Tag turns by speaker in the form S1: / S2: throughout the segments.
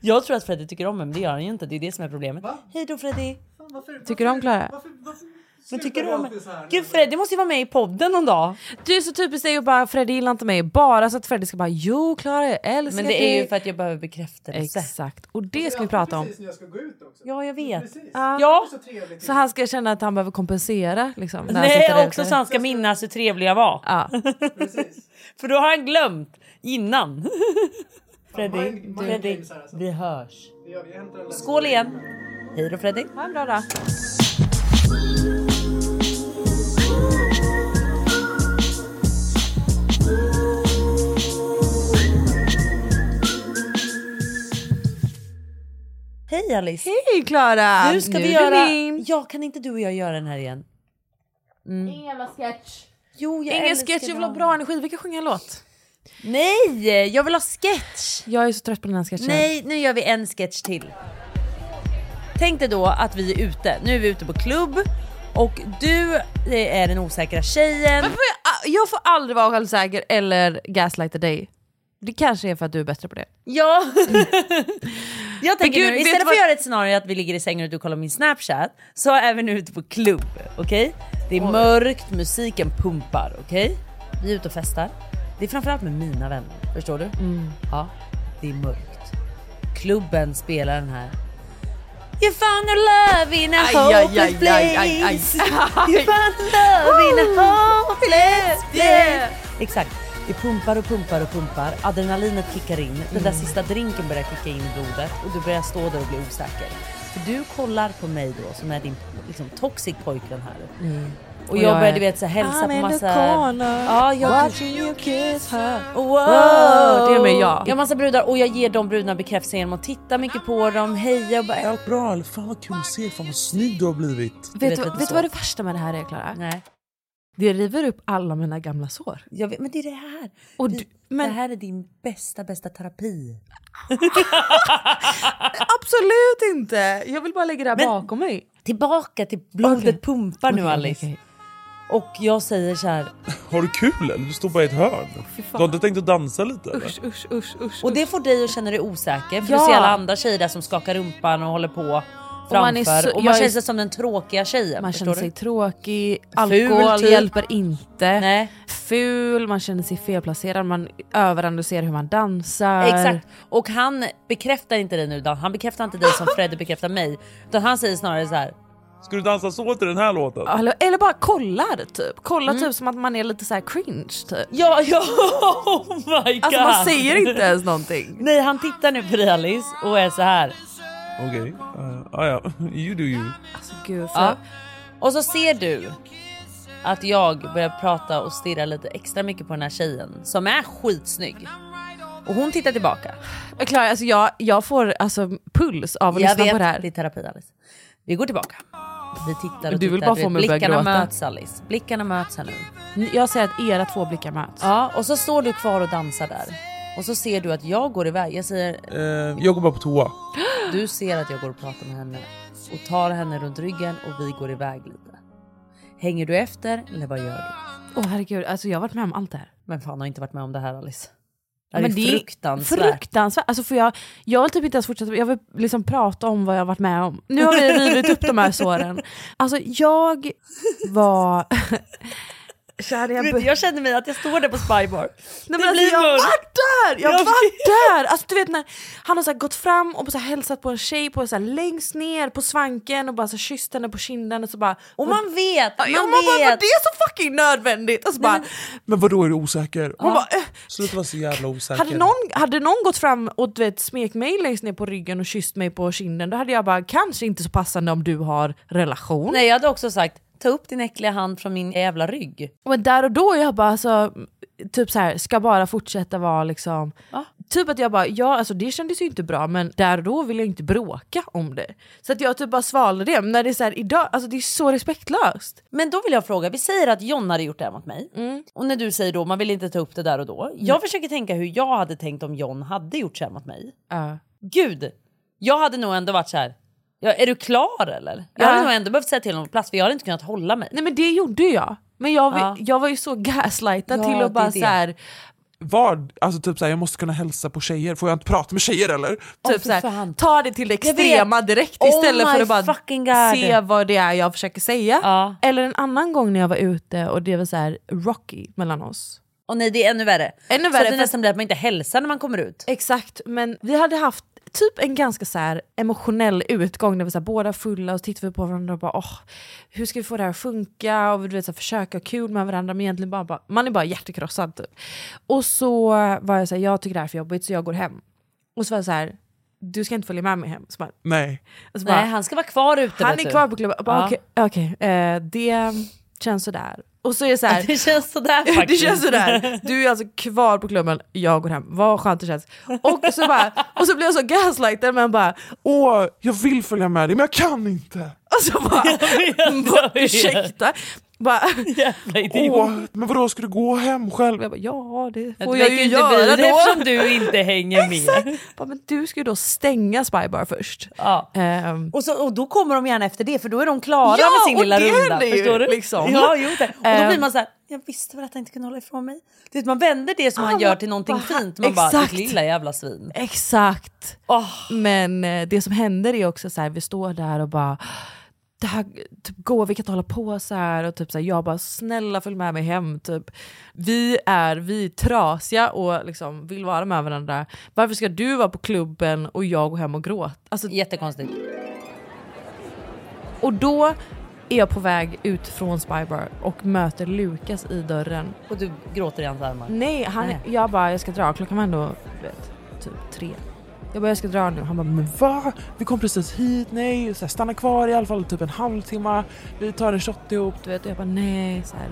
S1: Jag tror att Freddy tycker om mig, men det gör han ju inte. Det är det som är problemet.
S2: Va?
S1: Hej då Freddy!
S2: Fan, varför,
S3: Tycker du om Klara?
S2: Varför, varför,
S1: Men
S2: slutar
S1: tycker
S2: vi
S1: du om mig?
S2: alltid så här? liksom.
S1: Gud Freddy måste ju vara med i podden någon dag.
S3: Du är så typiskt dig och bara Freddy gillar inte mig bara så att Freddy ska bara jo Klara jag älskar
S1: Men
S3: dig.
S1: det är ju för att jag behöver bekräftelse.
S3: Exakt och det ska vi prata om.
S2: Precis när jag ska gå ut också.
S1: Ja, jag vet.
S2: Precis.
S1: Ja.
S2: Det är så trevligt.
S3: Så han ska känna att han behöver kompensera liksom. när han sitter där
S1: Nej, också
S3: ute.
S1: så han ska minnas hur trevlig jag var.
S3: Ja.
S2: Precis.
S1: För då har han glömt innan.
S2: Fan,
S1: Freddy,
S2: mind- mind
S1: Freddy,
S2: games här, alltså.
S1: vi hörs.
S2: Det gör vi. Jag hämtar en läsk.
S1: Skål igen! Hej då Freddy!
S3: Ha en bra dag.
S1: Hej Alice!
S3: Hej Klara!
S1: Nu ska
S3: Nu
S1: vi
S3: är du
S1: göra...
S3: min.
S1: Ja, kan inte du och jag göra den här igen?
S4: Ingen jävla sketch.
S1: Jo, jag
S3: Ingen
S1: älskar
S3: sketch, jag vill ha
S1: den.
S3: bra energi. Vi kan sjunga en låt.
S1: Nej, jag vill ha sketch!
S3: Jag är så trött på den här sketchen.
S1: Nej, nu gör vi en sketch till. Tänk dig då att vi är ute. Nu är vi ute på klubb och du eh, är den osäkra tjejen.
S3: Varför får ah, jag, jag får aldrig vara självsäker eller gaslighta dig. Det kanske är för att du är bättre på det.
S1: Ja. jag tänker
S3: gud,
S1: nu,
S3: vet
S1: istället
S3: du
S1: för att
S3: vad-
S1: göra ett scenario att vi ligger i sängen och du kollar min snapchat så är vi nu ute på klubb, okej? Det är mörkt, musiken pumpar, okej? Vi är ute och festar. Det är framförallt med mina vänner, förstår du?
S3: Mm.
S1: Ja, det är mörkt. Klubben spelar den här. You found your love in a
S3: Aj, aj,
S1: hopeless
S3: aj, aj, aj, aj.
S1: place. You found love in a hopeless
S3: Yeah.
S1: place. Exakt. Det pumpar och pumpar och pumpar. Adrenalinet kickar in. Den
S3: Mm.
S1: där sista drinken börjar kicka in i blodet och du börjar stå där och bli osäker. För du kollar på mig då som är din liksom, toxic pojkvän här. Och,
S3: Mm. Och
S1: jag,
S3: jag
S1: börjar
S3: är- "Ah,
S1: du vet så här, hälsa på
S3: I'm in
S1: massa...
S3: the corner,
S1: Ja, jag...
S3: watching you kiss her.
S1: Wow!
S3: det är med jag.
S1: Jag har massa brudar och jag ger de brudarna bekräftelse genom att titta mycket på dem, heja och bara...
S5: Allt bra Alf, fan vad kul att se, fan vad snygg du har blivit.
S3: Vet,
S1: vet
S3: du,
S1: inte
S3: vet
S1: så.
S3: du vad det värsta med det här är Klara?
S1: Nej,
S3: Det river upp alla mina gamla sår.
S1: jag vet, men det är det här.
S3: Och
S1: Vi-
S3: du, men
S1: Det här är din bästa, bästa terapi.
S3: absolut inte! Jag vill bara lägga det här
S1: Men-
S3: bakom mig.
S1: Tillbaka till blodet
S3: Okej.
S1: pumpar nu
S3: Okej,
S1: Alice.
S3: okej.
S1: Och jag säger så här,
S5: Har du kul eller? Du står bara i ett hörn.
S3: Fy
S5: Du
S3: fan.
S5: har inte tänkt att dansa lite eller?
S3: Usch, usch, usch, usch.
S1: och det får dig att känna dig osäker för du
S3: Ja.
S1: ser alla andra tjejer där som skakar rumpan och håller på framför. Och
S3: man
S1: man,
S3: är så- jag är-
S1: känner sig som den tråkiga tjejen.
S3: man
S1: förstår
S3: känner
S1: du?
S3: sig tråkig, alkohol
S1: typ.
S3: hjälper inte.
S1: Nej.
S3: Ful, man känner sig felplacerad, man överanalyserar hur man dansar.
S1: Exakt. Och han bekräftar inte dig nu Dan. Han bekräftar inte dig som Freddy bekräftar mig. Utan han säger snarare så här.
S5: Ska du dansa så till den här låten?
S3: Eller, eller bara kollar typ. Kollar typ som att man är lite så här cringe typ.
S1: Ja, ja, oh my god.
S3: Alltså man säger inte ens någonting.
S1: Nej, han tittar nu på dig Alice och är så här.
S5: Okej, okay. ah, ja. you do you.
S3: Alltså gud, för
S1: Ja. Och så ser du att jag börjar prata och stirra lite extra mycket på den här tjejen som är skitsnygg. Och hon tittar tillbaka.
S3: jag, klarar, alltså, jag, jag får alltså, puls av att
S1: Jag
S3: lyssna
S1: vet,
S3: på det här.
S1: det är terapi Alice. Vi går tillbaka. Vi tittar och
S3: Du vill
S1: tittar.
S3: bara
S1: vet,
S3: få mig att börja
S1: Blickarna
S3: gråta.
S1: möts Alice. Blickarna möts här nu.
S3: Jag säger att era två blickar möts.
S1: Ja, och så står du kvar och dansar där. Och så ser du att jag går iväg. Jag säger,
S5: Eh, jag går bara på toa.
S1: du ser att jag går och pratar med henne och tar henne runt ryggen och vi går iväg lite. Hänger du efter eller vad gör du?
S3: Åh herregud, alltså, jag har varit med om allt det här.
S1: Men fan har inte varit med om det här Alice. Det här
S3: Men
S1: är
S3: det är
S1: fruktansvärt.
S3: Fruktansvärt. Alltså, för jag, jag vill typ inte ens fortsätta, jag vill liksom prata om vad jag har varit med om. Nu har vi rivit upp de här såren. Alltså jag var... Kär i en
S1: Du
S3: bu-
S1: vet, jag känner mig att jag står där på Spybar.
S3: Nej, men alltså, jag
S1: mörkt.
S3: var där! Jag
S1: Ja,
S3: var där! Alltså, du vet när han har så här gått fram och så här hälsat på en tjej på, så här, längst ner på svanken och bara så här, kysst henne på kinden och så bara...
S1: Och man vet, man
S3: Ja, man bara, var
S1: vet.
S3: det så fucking nödvändigt? Och så bara,
S5: Men vadå är du osäker?
S3: hon bara, "Eh,
S5: Sluta vara så jävla osäker.
S3: hade, någon, hade någon gått fram och du vet, smek mig längst ner på ryggen och kysst mig på kinden då hade jag bara, kanske inte så passande om du har relation.
S1: Nej jag hade också sagt, ta upp din äckliga hand från min jävla rygg.
S3: Men där och då jag bara alltså, typ så här, ska bara fortsätta vara liksom. Typ att jag bara, ja alltså det kändes ju inte bra men där och då vill jag inte bråka om det. Så att jag typ bara svalde det. Men när det är så här idag, alltså det är så respektlöst.
S1: Men då vill jag fråga, vi säger att John hade gjort det här mot mig. Och när du säger då, man vill inte ta upp det där och då. Jag försöker tänka hur jag hade tänkt om John hade gjort så här mot mig. Gud, jag hade nog ändå varit så här. Ja, är du klar eller? Jag hade
S3: Ja.
S1: nog ändå behövt säga till honom på plats för jag hade inte kunnat hålla mig.
S3: Nej men det gjorde jag. Men jag,
S1: Ja.
S3: jag var ju så gaslightad
S1: Ja,
S3: till
S1: det är
S3: att bara
S1: det.
S3: så här
S5: Vad? Alltså typ såhär, jag måste kunna hälsa på tjejer. Får jag inte prata med tjejer eller?
S1: Åh,
S3: Typ
S1: fy
S3: såhär,
S1: fan.
S3: ta det till det
S1: vet.
S3: extrema direkt
S1: Oh
S3: istället
S1: my
S3: för att bara
S1: fucking God.
S3: se vad det är jag försöker säga.
S1: Ja.
S3: Eller en annan gång när jag var ute och det var så här rocky mellan oss.
S1: Och nej det är ännu värre.
S3: Ännu
S1: så
S3: värre,
S1: att det
S3: för-
S1: nästan blir att man inte hälsar när man kommer ut.
S3: Exakt, men vi hade haft typ en ganska så här emotionell utgång där vi så här, båda fulla och tittade på varandra och bara åh, hur ska vi få det här att funka och du vet, så här, försöka ha kul med varandra men egentligen bara, bara man är bara hjärtekrossad typ. Och så var jag så här, jag tycker det här är för jobbigt så jag går hem. Och så var jag så här, du ska inte följa med mig hem. Så bara,
S5: Nej.
S3: och så bara,
S1: Nej han ska vara kvar ute
S3: han
S1: vet
S3: är
S1: du.
S3: kvar på klubben. Jag bara,
S1: Ja.
S3: Okej, okej, eh, det känns sådär. Och så är det så här,
S1: Det känns sådär faktiskt.
S3: det känns sådär, du är alltså kvar på klubben, jag går hem, vad skönt det känns. Och så, bara, och så blir jag så gaslightad men bara,
S5: Åh, jag vill följa med dig men jag kan inte.
S3: och så bara bara, ursäkta. Bara,
S1: Jävla idiot.
S5: Åh, men vadå ska du gå hem själv?
S3: jag bara, ja det får
S1: Det
S3: jag
S1: verkar
S3: ju
S1: inte bli
S3: göra
S1: det
S3: då.
S1: eftersom du inte hänger med.
S3: Bara, men du ska ju då stänga Spybar först.
S1: Ja.
S3: Ehm,
S1: Och, så, och då kommer de gärna efter det för då är de klara
S3: Ja,
S1: med sin
S3: och
S1: lilla
S3: det
S1: runda.
S3: händer ju,
S1: Förstår du?
S3: liksom.
S1: Ja, jo, det. Och
S3: Eh.
S1: då blir man så här, jag visste väl att han inte kunde hålla ifrån mig. Du vet, man vänder det som
S3: Ah,
S1: han gör till någonting
S3: vad-
S1: fint. Man bara,
S3: exakt.
S1: ditt lilla jävla svin.
S3: Exakt.
S1: Åh.
S3: Men eh, det som händer är också så här, vi står där och bara det här, typ, gå, vi kan inte hålla på så här och typ så här, jag bara snälla följ med mig hem typ. Vi är, vi är trasiga och liksom vill vara med varandra. Varför ska du vara på klubben och jag gå hem och gråta? Alltså,
S1: Jättekonstigt.
S3: och då är jag på väg ut från Spybar och möter Lukas i dörren.
S1: Och du gråter i hans armar.
S3: Nej, han,
S1: Nej.
S3: jag bara jag ska dra, klockan var ändå du vet, typ tre. Jag bara jag ska dra nu, han bara men
S5: Va? Vi kom precis hit, nej. Så här, stanna kvar i alla fall typ en halvtimme. Vi tar en shot ihop.
S3: upp, du vet. Och jag bara nej. Så här.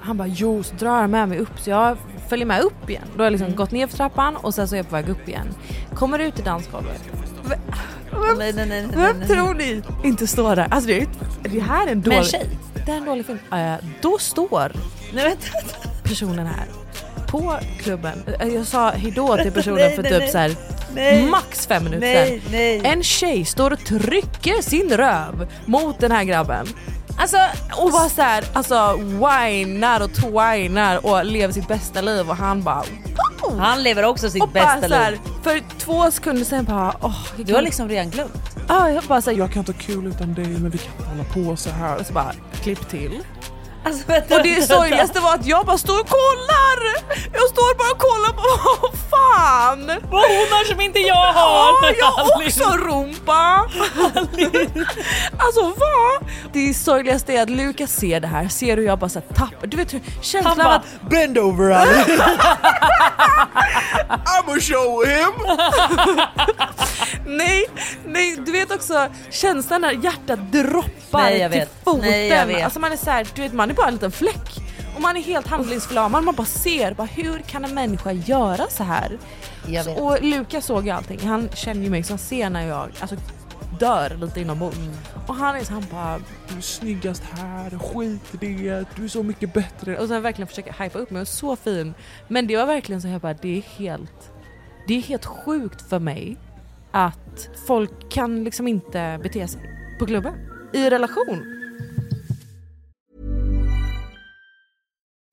S3: Han bara jo, så drar han med mig upp. Så jag följer med upp igen. Då har jag liksom gått ner för trappan och sen så är jag på väg upp igen. Kommer ut i dansgolvet. V- Vem,
S1: Nej, nej, nej, nej,
S3: vem
S1: nej.
S3: tror ni inte står där? Alltså det, är, ju ett- det här är en dålig...
S1: Men tjej.
S3: Det här är en dålig film. Eh, då står
S1: Nej, vänta.
S3: personen här på klubben. Eh, Jag sa hejdå till personen
S1: Nej,
S3: för
S1: nej,
S3: typ
S1: nej.
S3: så här
S1: Nej.
S3: max fem minuter
S1: Nej, nej.
S3: En tjej står och trycker sin röv mot den här grabben. Alltså, och bara så här, alltså whinar och twinar och lever sitt bästa liv och han bara wow!
S1: Han lever också
S3: och
S1: sitt
S3: bara
S1: bästa
S3: så här,
S1: liv.
S3: för två sekunder sen bara åh, jag
S1: Du har
S3: kan-
S1: liksom redan glömt.
S3: ah, jag bara så här, jag,
S5: Jag kan inte ha kul utan dig men vi kan inte hålla på så här.
S3: och så bara klipp till.
S1: Alltså, vänta,
S3: Och det
S1: vänta, vänta.
S3: sorgligaste var att jag bara står och kollar! Jag står bara och kollar på vad fan!
S1: Vad hon har som inte jag
S3: Ja,
S1: har! Alltså.
S3: jag har också rumpa! alltså vad? Det sorgligaste är att Lukas ser det här, ser hur jag bara så här tappar... Du vet hur
S1: Han
S3: känslan av
S1: bara,
S3: att
S5: Bend over Ali! I'm gonna show him!
S3: nej, nej, du vet också känslan när hjärtat droppar
S1: Nej, jag
S3: till
S1: vet.
S3: foten.
S1: Nej, jag vet.
S3: Alltså man är så här, du vet man är bara en liten fläck. Och man är helt handlingsförlamad, man bara ser, bara, hur kan en människa göra så här?
S1: Jag vet.
S3: Och Lukas såg ju allting, han känner ju mig så han ser när jag alltså, dör lite inombords.
S1: Mm.
S3: Och han är så han bara,
S5: Du är snyggast här, skit i det, du är så mycket bättre.
S3: och sen verkligen försöka hypa upp mig och så fin. Men det var verkligen så här bara, det är helt, det är helt sjukt för mig att folk kan liksom inte bete sig på klubben i relation.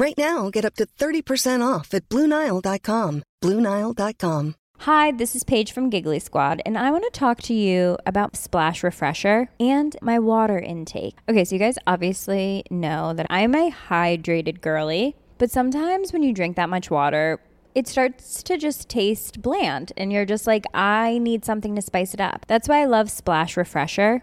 S6: Right now, get up to 30% off at BlueNile.com. BlueNile.com.
S7: Hi, this is Paige from Giggly Squad, and I want to talk to you about Splash Refresher and my water intake. Okay, so you guys obviously know that I'm a hydrated girly, but sometimes when you drink that much water, it starts to just taste bland. And you're just like, I need something to spice it up. That's why I love Splash Refresher.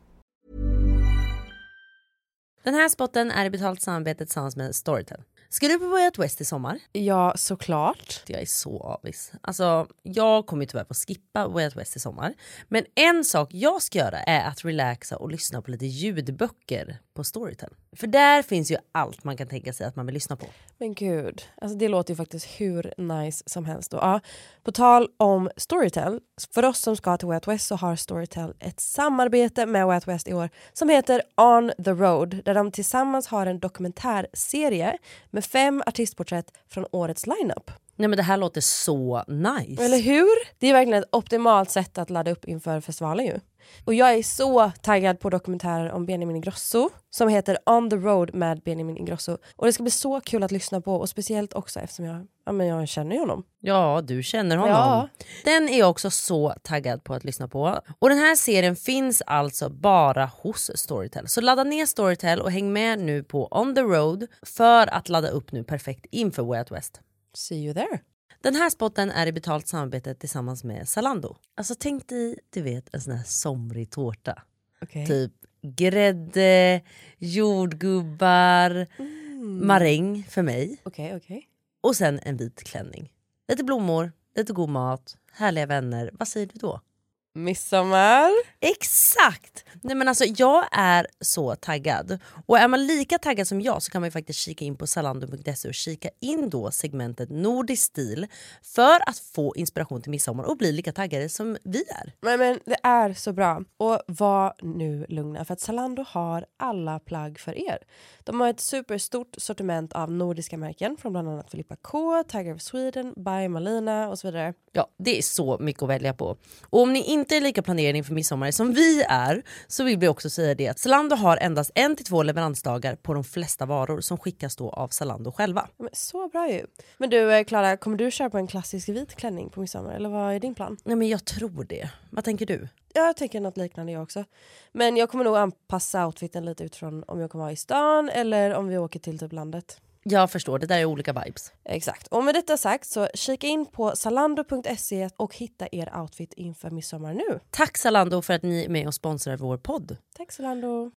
S1: Den här spotten är i betalt samarbete tillsammans med Storytel. Ska du på Way Out West i sommar?
S3: Ja, såklart.
S1: Jag är så avis. Alltså, jag kommer ju tyvärr få skippa Way Out West i sommar. Men en sak jag ska göra är att relaxa och lyssna på lite ljudböcker på Storytel. För där finns ju allt man kan tänka sig att man vill lyssna på.
S8: Men gud, alltså det låter ju faktiskt hur nice som helst. Då. Ja, på tal om Storytel, för oss som ska till Way Out West så har Storytel ett samarbete med Way Out West i år som heter On the Road där de tillsammans har en dokumentärserie med fem artistporträtt från årets lineup.
S1: Nej men det här låter så nice.
S8: Eller hur? Det är verkligen ett optimalt sätt att ladda upp inför festivalen ju. Och jag är så taggad på dokumentärer om Benjamin Ingrosso som heter On the Road med Benjamin Ingrosso. Och det ska bli så kul att lyssna på och speciellt också eftersom jag, ja, men jag känner ju honom.
S1: Ja, du känner honom.
S8: Ja.
S1: Den är jag också så taggad på att lyssna på. Och den här serien finns alltså bara hos Storytel. Så ladda ner Storytel och häng med nu på On the Road för att ladda upp nu perfekt inför Way Out West.
S8: See you there.
S1: Den här spotten är i betalt samarbete tillsammans med Zalando. Alltså tänk dig, du vet, en sån här somrig tårta. Typ grädde, jordgubbar, maräng för mig
S8: Okej, okej.
S1: och sen en vit klänning. Lite blommor, lite god mat, härliga vänner. Vad säger du då?
S8: Midsommar.
S1: Exakt! Nej, men alltså, jag är så taggad. Och är man lika taggad som jag så kan man ju faktiskt kika in på zalando.se och kika in då segmentet Nordisk stil för att få inspiration till midsommar och bli lika taggade som vi är.
S8: Men, men det är så bra. Och var nu lugna för att Zalando har alla plagg för er. De har ett superstort sortiment av nordiska märken från bland annat Filippa K, Tiger of Sweden, By Malina och så vidare.
S1: Ja, det är så mycket att välja på. Och om ni inte är lika planerade inför midsommar som vi är så vill vi också säga det att Zalando har endast en till två leveransdagar på de flesta varor som skickas då av Zalando själva.
S8: Ja, Men så bra ju. Men du eh, Klara, kommer du köpa en klassisk vit klänning på midsommar eller vad är din plan?
S1: Nej men jag tror det. Vad tänker du?
S8: Ja, Jag tänker något liknande jag också. Men jag kommer nog anpassa outfiten lite utifrån om jag kommer vara i stan eller om vi åker till typ landet.
S1: Jag förstår, det där är olika vibes.
S8: Exakt. Och med detta sagt så kika in på zalando.se och hitta er outfit inför midsommar nu.
S1: Tack Zalando för att ni är med och sponsrar vår podd.
S8: Tack Zalando.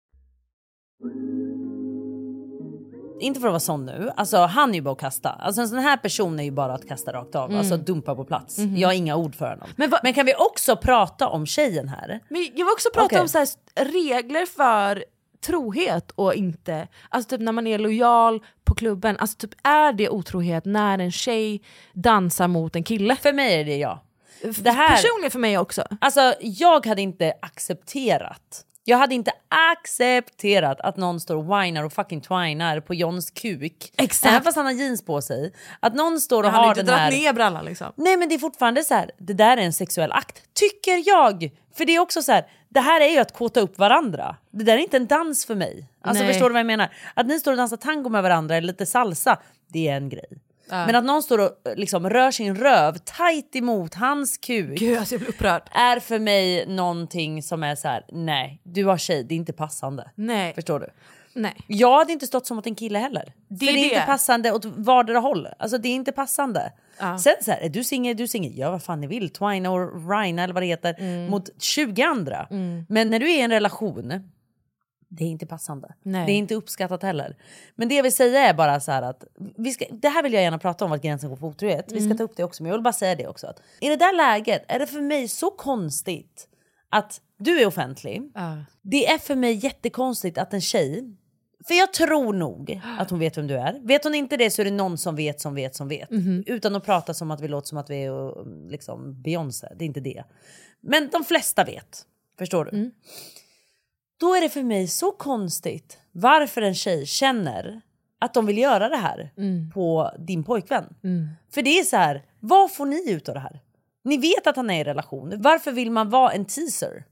S1: Inte för att vara sån nu, alltså han är ju bara att kasta. Alltså en sån här person är ju bara att kasta rakt av, alltså dumpa på plats. Jag har inga ord för honom. Men, kan vi också prata om tjejen här?
S3: Men jag vill också prata
S1: Okej.
S3: om så här, regler för trohet och inte. Alltså typ när man är lojal på klubben, alltså typ är det otrohet när en tjej dansar mot en kille?
S1: För mig är det ja. Det här,
S3: Personligen för mig också.
S1: alltså jag hade inte accepterat, jag hade inte accepterat att någon står och whinar och fucking twinar på Johns kuk.
S3: Exakt.
S1: Även fast han har jeans på sig. Att någon står och
S3: Jag
S1: har
S3: har inte
S1: den här...
S3: dragit ner brallan liksom.
S1: Nej men det är fortfarande så här, det där är en sexuell akt, tycker jag. För det är också så här, det här är ju att kåta upp varandra. Det där är inte en dans för mig. Alltså
S3: Nej.
S1: förstår du vad jag menar? Att ni står och dansar tango med varandra eller lite salsa, det är en grej. Men att någon står och eh, liksom rör sin röv tajt emot hans kuk
S3: Gud alltså jag blir upprörd.
S1: är för mig någonting som är så här: nej du har tjej, det är inte passande.
S3: Nej.
S1: Förstår du?
S3: Nej.
S1: Jag hade inte stått som åt en kille heller. Det,
S3: är
S1: för det är inte
S3: det.
S1: passande åt vardera håll. Alltså det är inte passande. Sen så här, är du singel, är du singel, gör vad fan ni vill. Twina och Rina eller vad det heter mot 20 andra. Men när du är i en relation, det är inte passande.
S3: Nej.
S1: Det är inte uppskattat heller. Men det jag vill säga är bara så här att, vi ska, det här vill jag gärna prata om vart gränsen går för otrohet. Vi ska ta upp det också men jag vill bara säga det också. Att I det där läget är det för mig så konstigt att du är offentlig, det är för mig jättekonstigt att en tjej, för jag tror nog att hon vet vem du är. Vet hon inte det så är det någon som vet som vet som vet. Utan att prata som att vi låter som att vi är och, liksom, Beyoncé, det är inte det. Men de flesta vet, förstår du? Då är det för mig så konstigt varför en tjej känner att de vill göra det här på din pojkvän. För det är så här, vad får ni ut av det här? Ni vet att han är i relation. Varför vill man vara en teaser?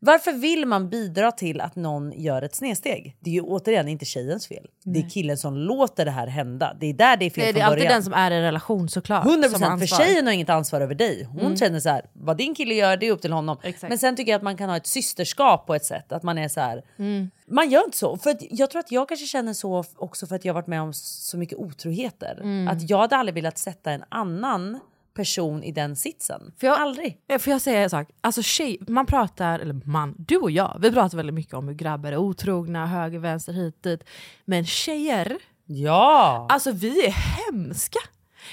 S1: Varför vill man bidra till att någon gör ett snedsteg? Det är ju återigen inte tjejens fel. Det är killen som låter det här hända. Det är där det är fel
S3: Nej, det är
S1: från
S3: alltid
S1: början.
S3: den som är i relation såklart.
S1: 100
S3: som har
S1: procent, för
S3: ansvar. Mm.
S1: tjejen har inget ansvar över dig. Hon känner så här, vad din kille gör det är upp till honom. Men sen tycker jag att man kan ha ett systerskap på ett sätt. Att man är så här,
S3: Mm.
S1: man gör inte så. För att jag tror att jag kanske känner så f- också för att jag har varit med om så mycket otroheter.
S3: Mm.
S1: Att jag hade aldrig velat sätta en annan person i den sitsen.
S3: För jag, Aldrig. Eh, Får jag säga en sak? Alltså tjej, man pratar, eller man, du och jag, vi pratar väldigt mycket om hur grabbar är otrogna, höger, vänster, hit, dit. Men tjejer,
S1: Ja!
S3: alltså vi är hemska.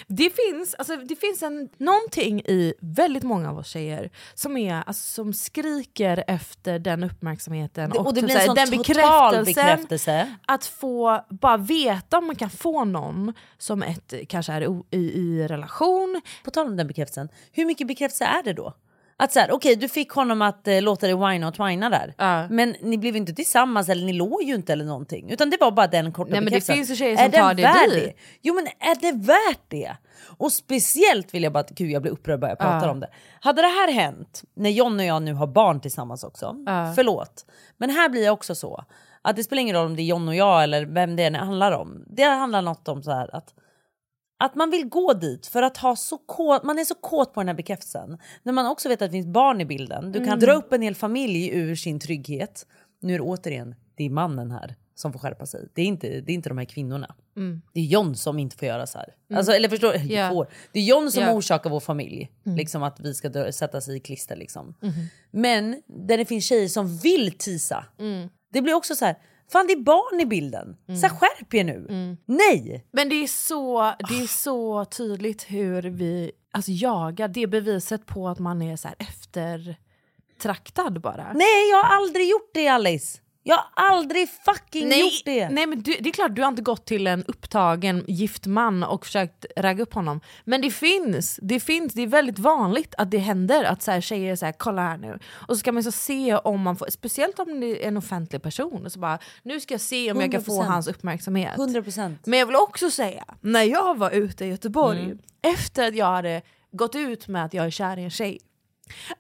S3: Det finns, alltså, det finns en, någonting i väldigt många av oss tjejer som, är, alltså, som skriker efter den uppmärksamheten
S1: Det- och det
S3: typ
S1: blir en
S3: så här,
S1: sån total bekräftelse.
S3: Att få bara veta om man kan få någon som ett, kanske är o, i, i relation,
S1: På tal om den bekräftelsen, hur mycket bekräftelse är det då? Att så här, okej du fick honom att eh, låta dig whina och twina där.
S3: Ja.
S1: Men ni blev inte tillsammans eller ni låg ju inte eller någonting. Utan det var bara den korta
S3: Nej, men det
S1: bekräftelsen.
S3: finns ju tjejer
S1: Är
S3: som tar
S1: den
S3: det
S1: värd
S3: dit.
S1: Jo men är det värt det? Och speciellt vill jag bara, gud jag blir upprörd bara jag pratar om det. Hade det här hänt när John och jag nu har barn tillsammans också, förlåt. Men här blir jag också så. Att det spelar ingen roll om det är John och jag eller vem det än handlar om. Det handlar något om så här att att man vill gå dit för att ha så kåt, man är så kåt på den här bekräftelsen. När man också vet att det finns barn i bilden. Du
S3: Mm.
S1: kan dra upp en hel familj ur sin trygghet. Nu är det återigen, det är mannen här som får skärpa sig. Det är inte, det är inte de här kvinnorna. Det är John som inte får göra så här. Alltså, eller förstår
S3: Mm. Ja.
S1: får. Det är John som
S3: Ja. Mm.
S1: orsakar vår familj. Liksom att vi ska dö, sätta sig i klister liksom. Men där det finns tjejer som vill tisa.
S3: Mm.
S1: Det blir också så här, fan det är barn i bilden. Så här, skärp er nu.
S3: Mm.
S1: Nej!
S3: Men det är så, det är så tydligt hur vi alltså, jagar. Det är beviset på att man är så här eftertraktad bara.
S1: Nej, jag har aldrig gjort det Alice. Jag har aldrig fucking gjort det.
S3: nej men du, det är klart du har inte gått till en upptagen gift man och försökt ragga upp honom. Men det finns, det finns, det är väldigt vanligt att det händer att så här, tjejer säger kolla här nu. Och så ska man så se om man får, speciellt om det är en offentlig person, så bara nu ska jag se om jag kan få
S1: 100%.
S3: hans uppmärksamhet.
S1: 100 procent.
S3: Men jag vill också säga, när jag var ute i Göteborg,
S1: Mm.
S3: efter att jag hade gått ut med att jag är kär i en tjej.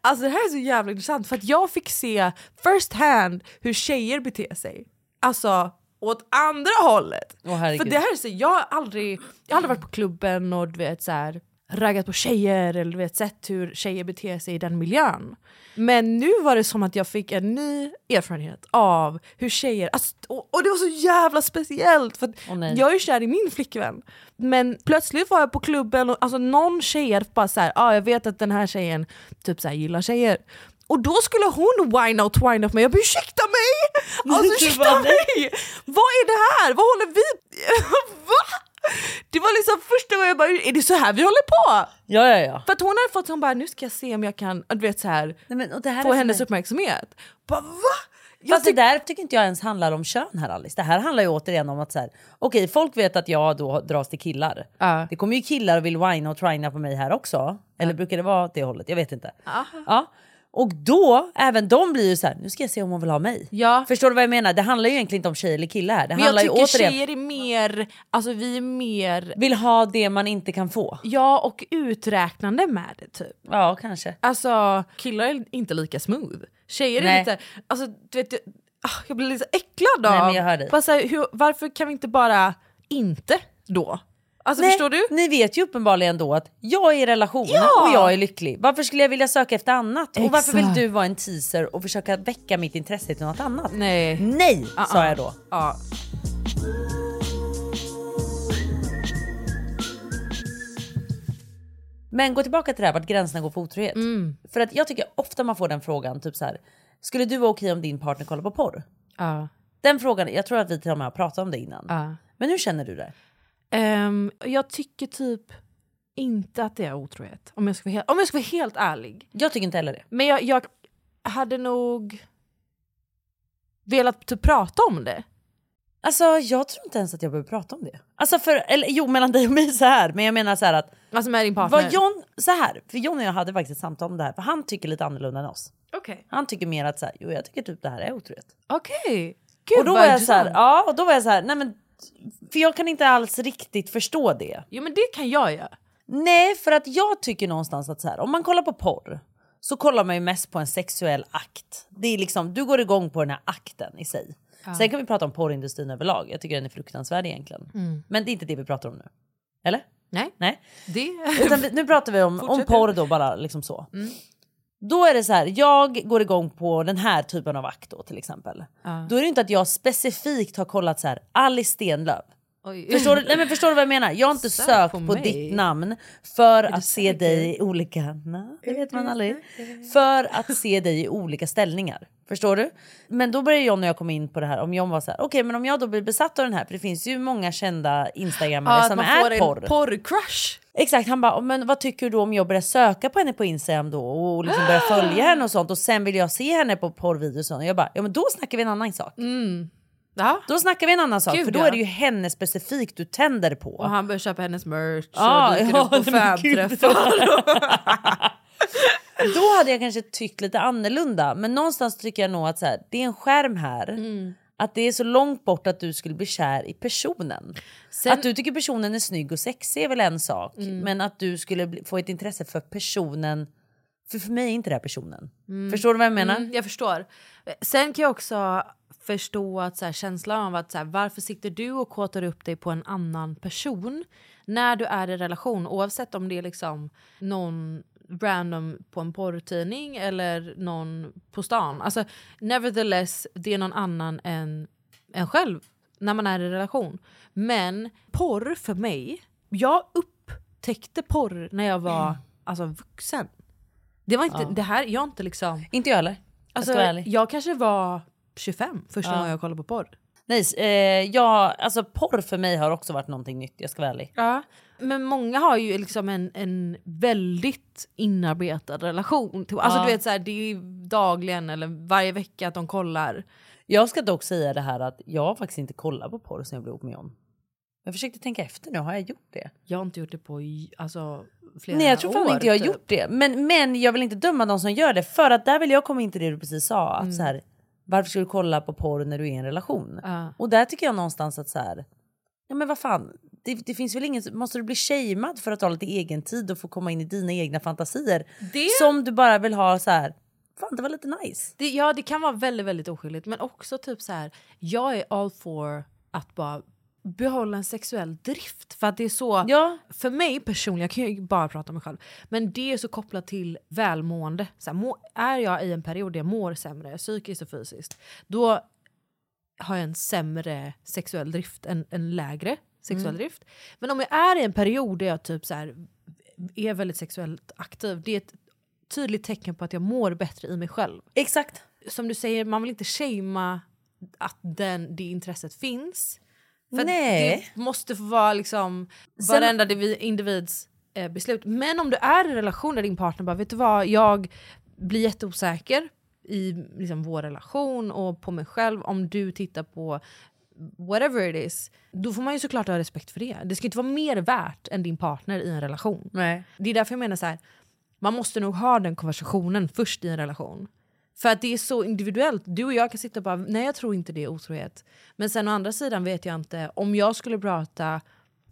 S3: Alltså det här är så jävla intressant för att jag fick se first hand hur tjejer beter sig. Alltså åt andra hållet.
S1: Åh, herregud.
S3: för det här är så, jag har aldrig, jag har aldrig varit på klubben och du vet så här raggat på tjejer eller du vet sett hur tjejer beter sig i den miljön. Men nu var det som att jag fick en ny erfarenhet av hur tjejer, alltså, och, och det var så jävla speciellt för att
S1: Åh, nej.
S3: jag är kär i min flickvän. Men plötsligt var jag på klubben och alltså, någon tjej hade bara såhär, ah, jag vet att den här tjejen typ så här, gillar tjejer. Och då skulle hon wine out wine up mig, jag bara ursäkta mig!
S1: du
S3: Alltså ursäkta
S1: bara, nej.
S3: mig! Vad är det här? Vad håller vi... Va? Det var liksom första gången jag bara, är det så här vi håller på?
S1: Ja, ja, ja.
S3: För att hon hade fått, hon bara, nu ska jag se om jag kan, du vet så här,
S1: Nej, men, och det här
S3: få
S1: är
S3: hennes
S1: för mig-
S3: uppmärksamhet. Bara, va? Jag
S1: Fast det där tycker inte jag ens handlar om kön här Alice. Det här handlar ju återigen om att så här, okej folk vet att jag då dras till killar.
S3: Ja.
S1: Det kommer ju killar och vill whina och trina på mig här också. Eller brukar det vara åt det hållet? Jag vet inte. Ja. Och då, även de blir ju så här, nu ska jag se om hon vill ha mig.
S3: Ja.
S1: Förstår du vad jag menar? Det handlar ju egentligen inte om tjej eller kille här. Det
S3: men jag
S1: handlar ju
S3: tycker
S1: återigen,
S3: tjejer är mer, alltså vi är mer,
S1: vill ha det man inte kan få.
S3: ja och uträknande med det typ.
S1: Ja, kanske.
S3: Alltså killar är inte lika smooth. Tjejer är
S1: Nej.
S3: lite, alltså du vet, jag- ah, jag blir lite äcklad av.
S1: Nej, men jag hör dig.
S3: Bara så här, hur, varför kan vi inte bara inte då? Alltså förstår du?
S1: Ni vet ju uppenbarligen då att jag är i relation
S3: Ja!
S1: och jag är lycklig. Varför skulle jag vilja söka efter annat? Och varför vill
S3: Exakt.
S1: du vara en teaser och försöka väcka mitt intresse till något annat?
S3: Nej.
S1: Nej,
S3: Mm, Ah,
S1: sa
S3: ah.
S1: jag då.
S3: Ja.
S1: Men gå tillbaka till det här vart gränserna går för otrohet.
S3: Mm.
S1: För att jag tycker ofta man får den frågan, typ så här. Skulle du vara okej om din partner kollar på porr?
S3: Ja.
S1: Den frågan, jag tror att vi till och med har pratat om det innan.
S3: Ja.
S1: Men hur känner du det?
S3: Ehm, jag tycker typ inte att det är otrohet. Om jag ska vara helt, om jag ska vara helt ärlig.
S1: Jag tycker inte heller det.
S3: Men jag, jag hade nog velat typ prata om det.
S1: Alltså jag tror inte ens att jag behöver prata om det. Alltså för, eller jo mellan dig och mig så här, men jag menar så här att
S3: Alltså med din partner.
S1: Vad John, så här, för John och jag hade faktiskt ett samtal om det här, för han tycker lite annorlunda än oss.
S3: Okej.
S1: Han tycker mer att så här, jo jag tycker typ det här är otroligt.
S3: Okej. Gud
S1: Och då
S3: vad
S1: var jag så här,
S3: intressant.
S1: ja och då var jag så här, nej men för jag kan inte alls riktigt förstå det.
S3: Jo men det kan jag göra.
S1: Nej, för att jag tycker någonstans att så här, om man kollar på porr så kollar man ju mest på en sexuell akt. Det är liksom, du går igång på den här akten i sig. Sen kan vi prata om porrindustrin överlag. Jag tycker den är fruktansvärd egentligen. Men det är inte det vi pratar om nu. Eller?
S3: Nej.
S1: Nej.
S3: Det...
S1: Utan vi, nu pratar vi om, om
S3: Fortsätt Mm.
S1: porr då bara liksom så. Då är det så här, jag går igång på den här typen av akt då till exempel. Då är det inte att jag specifikt har kollat så här, Alice Stenlöf. Förstår du, nej men förstår du vad jag menar? Jag har inte
S3: Sök
S1: sökt
S3: på
S1: på,
S3: mig.
S1: ditt namn för att se dig i olika... Nej, det vet man aldrig. För att se dig i olika ställningar. Förstår du? Men då börjar John och jag komma in på det här. Om John var så här, okej men om jag då blir besatt av den här, för det finns ju många kända instagrammare
S3: Ja, att
S1: som
S3: man
S1: är
S3: får
S1: porr.
S3: en porrcrush.
S1: Exakt, han bara, men vad tycker du om jag börjar söka på henne på Instagram då och liksom börjar
S3: Ah.
S1: följa henne och sånt och sen vill jag se henne på porrvideos och sånt. Jag bara, ja men då snackar vi en annan sak.
S3: Ja.
S1: Då snackar vi en annan sak
S3: Mm. Gud,
S1: för då
S3: ja. Ah.
S1: är det ju henne specifikt du tänder på.
S3: Och han börjar köpa hennes merch
S1: Ja,
S3: och dyker
S1: ja,
S3: upp på
S1: nej, men gud.
S3: fanträffar.
S1: Då hade jag kanske tyckt lite annorlunda men någonstans tycker jag nog att så här, det är en skärm här.
S3: Mm.
S1: Att det är så långt bort att du skulle bli kär i personen.
S3: Sen- Mm.
S1: Att du tycker personen är snygg och sexig är väl en sak. Men att du skulle bli, få ett intresse för personen. För för mig är inte det här personen. Förstår du vad jag menar?
S3: Mm, jag förstår. Sen kan jag också förstå att så här, känslan av att så här, varför sitter du och kåtar upp dig på en annan person när du är i relation oavsett om det är liksom någon random på en porrtidning eller någon på stan. Alltså nevertheless, det är någon annan än en själv när man är i relation. Men porr för mig, jag upptäckte porr när jag var alltså, vuxen. Det var inte, det här, jag har inte liksom...
S1: Inte jag heller.
S3: Alltså,
S1: jag ska vara
S3: jag,
S1: ärlig.
S3: kanske var 25 första
S1: Ja.
S3: gången jag kollade på porr.
S1: Nej, eh, jag, alltså porr för mig har också varit någonting nytt, jag ska vara ärlig.
S3: Ja. Men många har ju liksom en, en väldigt inarbetad relation. Till, alltså
S1: Ja.
S3: du vet så här, det är ju dagligen eller varje vecka att de kollar.
S1: Jag ska dock säga det här att jag har faktiskt inte kollat på porr sen jag blev ihop med John. Jag försökte tänka efter nu, har jag gjort det?
S3: Jag har inte gjort det på i- alltså, flera år.
S1: Nej jag tror fan inte jag har
S3: typ.
S1: gjort det. Men, men jag vill inte döma de som gör det för att där vill jag komma in till det du precis sa. Att så här, varför ska du kolla på porr när du är i en relation?
S3: Mm. Ja.
S1: Och där tycker jag någonstans att så här, ja men vad fan, det, det finns väl ingen, måste du bli shamead för att ha lite egen tid och få komma in i dina egna fantasier?
S3: Det-
S1: Som du bara vill ha så här, fan det var lite nice.
S3: Det, ja, det kan vara väldigt, väldigt oskyldigt. Men också typ så här, jag är all for att bara behålla en sexuell drift. För att det är så,
S1: Ja.
S3: för mig personligen, jag kan ju bara prata om mig själv, men det är så kopplat till välmående. Så här, må, är jag i en period där jag mår sämre, psykiskt och fysiskt, då har jag en sämre sexuell drift, en, en lägre sexuell drift. Men om jag är i en period där jag typ så här, är väldigt sexuellt aktiv, det är ett tydligt tecken på att jag mår bättre i mig själv
S1: Exakt.
S3: som du säger, man vill inte shamea att den, det intresset finns. För att
S1: Nej.
S3: Det måste få vara liksom varenda divi- individs eh, beslut. Men om du är i en relation där din partner bara, vet du vad, jag blir jätteosäker i liksom, vår relation och på mig själv om du tittar på whatever it is. Då får man ju såklart ha respekt för det. Det ska inte vara mer värt än din partner i en relation.
S1: Nej.
S3: Det är därför jag menar så här. man måste nog ha den konversationen först i en relation. För att det är så individuellt. Du och jag kan sitta och bara, nej jag tror inte det är otrohet. Men sen å andra sidan vet jag inte, om jag skulle prata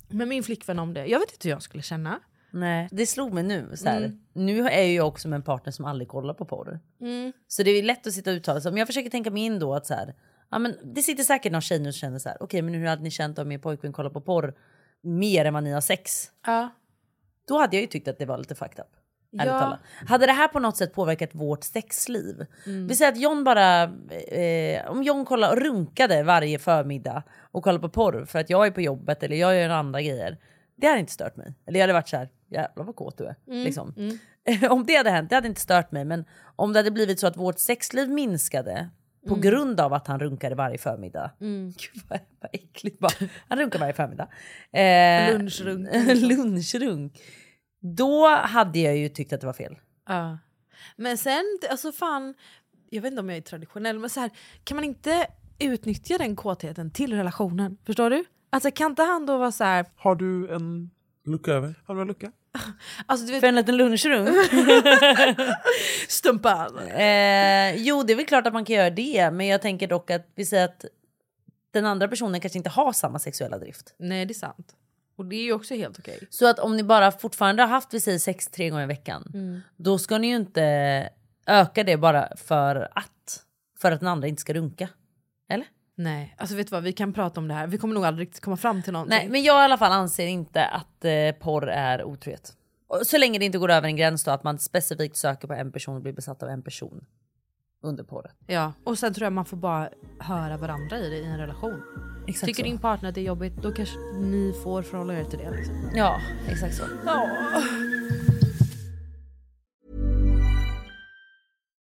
S3: med min flickvän om det, jag vet inte hur jag skulle känna.
S1: Nej. Det slog mig nu. Så här.
S3: Mm.
S1: Nu är ju jag också med en partner som aldrig kollar på porr.
S3: Mm,
S1: Så det är ju lätt att sitta och uttala sig. Men jag försöker tänka mig in då att så här, ja, men det sitter säkert någon tjej nu som känner så här, okej men hur hade ni känt om er pojkvän kollar på porr mer än vad ni har sex?
S3: Ja.
S1: Då hade jag ju tyckt att det var lite fucked up. ärligt
S3: Ja.
S1: talat. Hade det här på något sätt påverkat vårt sexliv? Vi säger att John bara, eh, om John kollar och runkade varje förmiddag och kollar på porr för att jag är på jobbet eller jag gör andra grejer. Det hade inte stört mig. Eller jag hade varit så här, jävlar vad kåt du är. Liksom. om det hade hänt, det hade inte stört mig. Men om det hade blivit så att vårt sexliv minskade på grund av att han runkade varje förmiddag. Gud vad, vad äckligt bara. Han runkar varje förmiddag. Eh,
S3: Lunchrunk.
S1: lunchrunk. Då hade jag ju tyckt att det var fel.
S3: Ja. Men sen, alltså fan, jag vet inte om jag är traditionell, men så här, kan man inte utnyttja den kåtheten till relationen? Förstår du? Alltså kan inte han då vara så här,
S5: Har du en... Lucka över. Har du en lucka?
S3: alltså du vet,
S1: För en liten lunchrunk?
S3: stumpan.
S1: eh, jo, det är väl klart att man kan göra det. Men jag tänker dock att vi säger att den andra personen kanske inte har samma sexuella drift.
S3: Nej det är sant.
S9: Och det är ju också helt okej.
S10: Så att om ni bara fortfarande har haft vi säger sex tre gånger i veckan då ska ni ju inte öka det bara för att. För att den andra inte ska runka. Eller?
S9: Nej, alltså vet du vad, vi kan prata om det här. Vi kommer nog aldrig riktigt komma fram till någonting.
S10: Nej men jag i alla fall anser inte att eh, porr är otrohet. Och Så länge det inte går över en gräns då att man specifikt söker på en person och blir besatt av en person. Under porret.
S9: Ja, och sen tror jag man får bara höra varandra i det i en relation.
S10: Exakt
S9: Tycker
S10: så.
S9: din partner att det är jobbigt, då kanske ni får förhålla er till det. Liksom.
S10: Ja exakt så.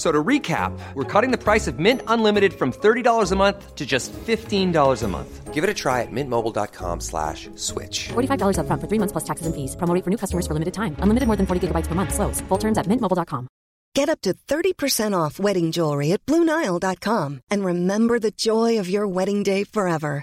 S5: So to recap, we're cutting the price of Mint Unlimited from $30 a month to just $15 a month.
S11: Give it a try at mintmobile.com slash switch.
S12: $45 upfront for three months plus taxes and fees. Promoting for new customers for limited time. Unlimited more than 40 gigabytes per month. Slows. Full terms at mintmobile.com.
S6: Get up to 30% off wedding jewelry at BlueNile.com and remember the joy of your wedding day forever.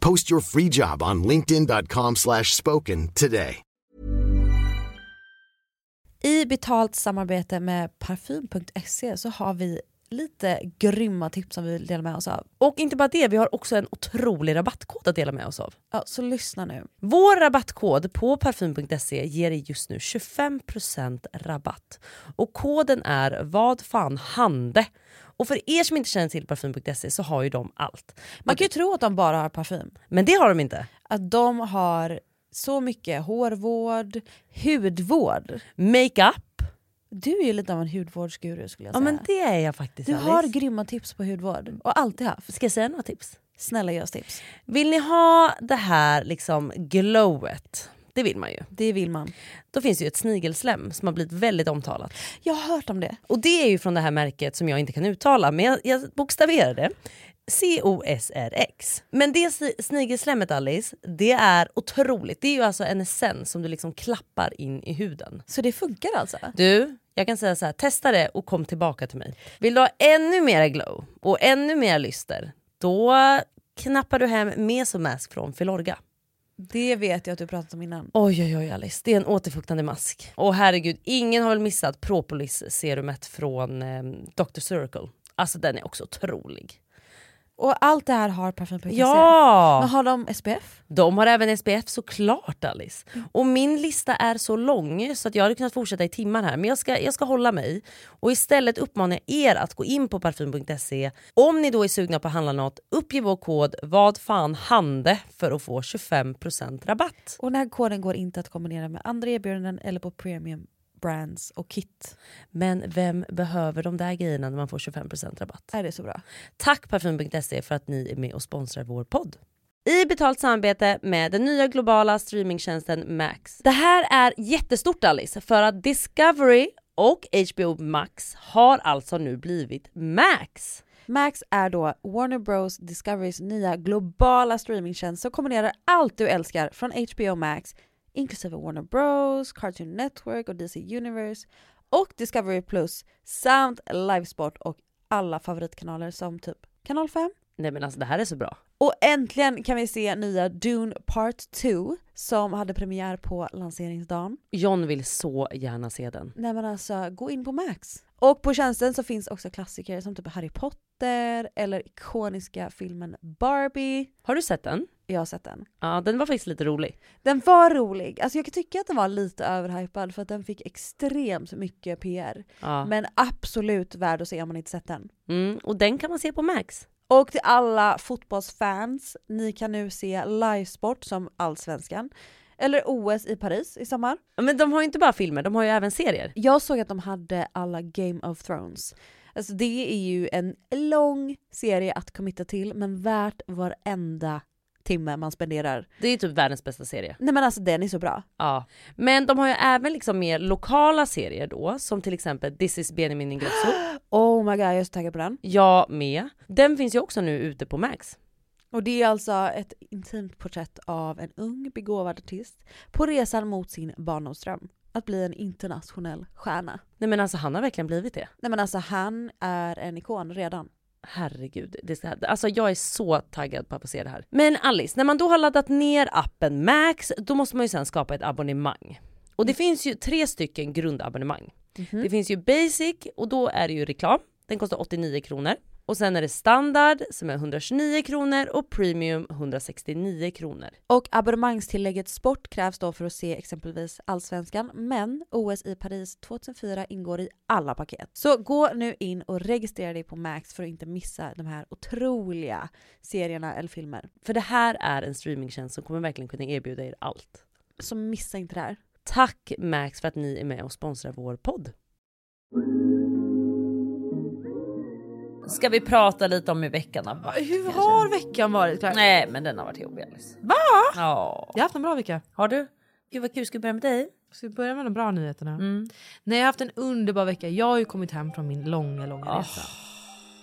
S13: Post your free job on linkedin.com/spoken slash spoken today.
S3: I betalt samarbete med parfym.se så har vi lite grymma tips som vi vill dela med oss av.
S1: Och inte bara det, vi har också en otrolig rabattkod att dela med oss av.
S3: Ja, så lyssna nu.
S1: Vår rabattkod på parfym.se ger dig just nu 25% rabatt. Och koden är vad fan hande. Och för er som inte känner till parfym.se så har ju de allt.
S3: Man kan ju tro att de bara har parfym.
S1: Men det har de inte.
S3: Att de har så mycket hårvård, hudvård.
S1: Makeup.
S3: Du är ju lite av en hudvårdsguru skulle jag
S1: Ja
S3: säga.
S1: men det är jag faktiskt
S3: du
S1: Alice.
S3: har grymma tips på hudvård och alltid haft.
S1: Ska jag säga några tips?
S3: Snälla ge oss tips.
S1: Vill ni ha det här liksom glowet? Det vill man ju.
S3: Det vill man.
S1: Då finns det ju ett snigelslem som har blivit väldigt omtalat.
S3: Jag har hört om det.
S1: Och det är ju från det här märket som jag inte kan uttala, men jag, jag bokstaverar det. COSRX. Men det si- snigelslemmet Alice, det är otroligt. Det är ju alltså en essens som du liksom klappar in i huden.
S3: Så det funkar alltså?
S1: Du, jag kan säga så här, testa det och kom tillbaka till mig. Vill du ha ännu mer glow och ännu mer lyster, då knappar du hem Mesomask från Filorga.
S3: Det vet jag att du pratat om innan.
S1: Oj, oj, oj Alice, det är en återfuktande mask. Och herregud, ingen har väl missat Propolis-serumet från eh, Dr. Circle. Alltså den är också otrolig.
S3: Och allt det här har parfym.se? Men
S1: Ja!
S3: har de SPF?
S1: De har även SPF såklart Alice. Och min lista är så lång så att jag hade kunnat fortsätta i timmar här. Men jag ska, jag ska hålla mig. Och istället uppmanar jag er att gå in på parfym.se. Om ni då är sugna på att handla något, uppge vår kod vad fan hande för att få 25% rabatt.
S3: Och den här koden går inte att kombinera med andra erbjudanden eller på premium brands och kit.
S1: Men vem behöver de där grejerna när man får 25% rabatt?
S3: Är det så bra?
S1: Tack parfym.se för att ni är med och sponsrar vår podd. I betalt samarbete med den nya globala streamingtjänsten Max. Det här är jättestort Alice, för att Discovery och HBO Max har alltså nu blivit Max.
S3: Max är då Warner Bros Discoverys nya globala streamingtjänst som kombinerar allt du älskar från HBO Max inklusive Warner Bros, Cartoon Network och DC Universe och Discovery Plus samt livesport och alla favoritkanaler som typ Kanal 5.
S1: Nej men alltså det här är så bra.
S3: Och äntligen kan vi se nya Dune Part 2 som hade premiär på lanseringsdagen.
S1: John vill så gärna se den.
S3: Nej men alltså, gå in på Max. Och på tjänsten så finns också klassiker som typ Harry Potter eller ikoniska filmen Barbie.
S1: Har du sett den?
S14: jag har sett den.
S4: Ja, den var faktiskt lite rolig.
S14: Den var rolig, alltså jag kan tycka att den var lite överhypad för att den fick extremt mycket PR.
S4: Ja.
S14: Men absolut värd att se om man inte sett den.
S4: Mm, och den kan man se på Max.
S14: Och till alla fotbollsfans, ni kan nu se livesport som Allsvenskan. Eller OS i Paris i sommar.
S4: Men de har ju inte bara filmer, de har ju även serier.
S14: Jag såg att de hade alla Game of Thrones. Alltså det är ju en lång serie att committa till men värt varenda timme man spenderar.
S4: Det är ju typ världens bästa serie.
S14: Nej men alltså den är så bra.
S4: Ja. Men de har ju även liksom mer lokala serier då, som till exempel This is Benjamin Ingrosso.
S14: Oh my god, jag är så taggad på den.
S4: Jag med. Den finns ju också nu ute på Max.
S14: Och det är alltså ett intimt porträtt av en ung begåvad artist på resan mot sin barndomsdröm. Att bli en internationell stjärna.
S4: Nej men alltså han har verkligen blivit det.
S14: Nej men alltså han är en ikon redan.
S4: Herregud, det ska, alltså jag är så taggad på att få se det här. Men Alice, när man då har laddat ner appen Max, då måste man ju sen skapa ett abonnemang. Och det finns ju tre stycken grundabonnemang.
S14: Mm. Mhm.
S4: Det finns ju Basic och då är det ju reklam. Den kostar 89 kronor. Och sen är det Standard som är 129 kronor och Premium 169 kronor.
S14: Och abonnemangstillägget sport krävs då för att se exempelvis allsvenskan, men OS i Paris 2004 ingår i alla paket. Så gå nu in och registrera dig på Max för att inte missa de här otroliga serierna eller filmer.
S4: För det här är en streamingtjänst som kommer verkligen kunna erbjuda er allt.
S14: Så missa inte det här.
S4: Tack Max för att ni är med och sponsrar vår podd.
S1: Ska vi prata lite om hur veckan har varit?
S3: Hur har veckan varit Clara?
S1: Nej men den har varit jobbig Alice.
S3: Va?
S1: Ja.
S3: Jag har haft en bra vecka.
S1: Har du? Gud vad kul, ska vi börja med dig?
S3: Ska vi börja med de bra nyheterna?
S1: Mm.
S3: Nej jag har haft en underbar vecka. Jag har ju kommit hem från min långa, långa
S1: Ah.
S3: resa.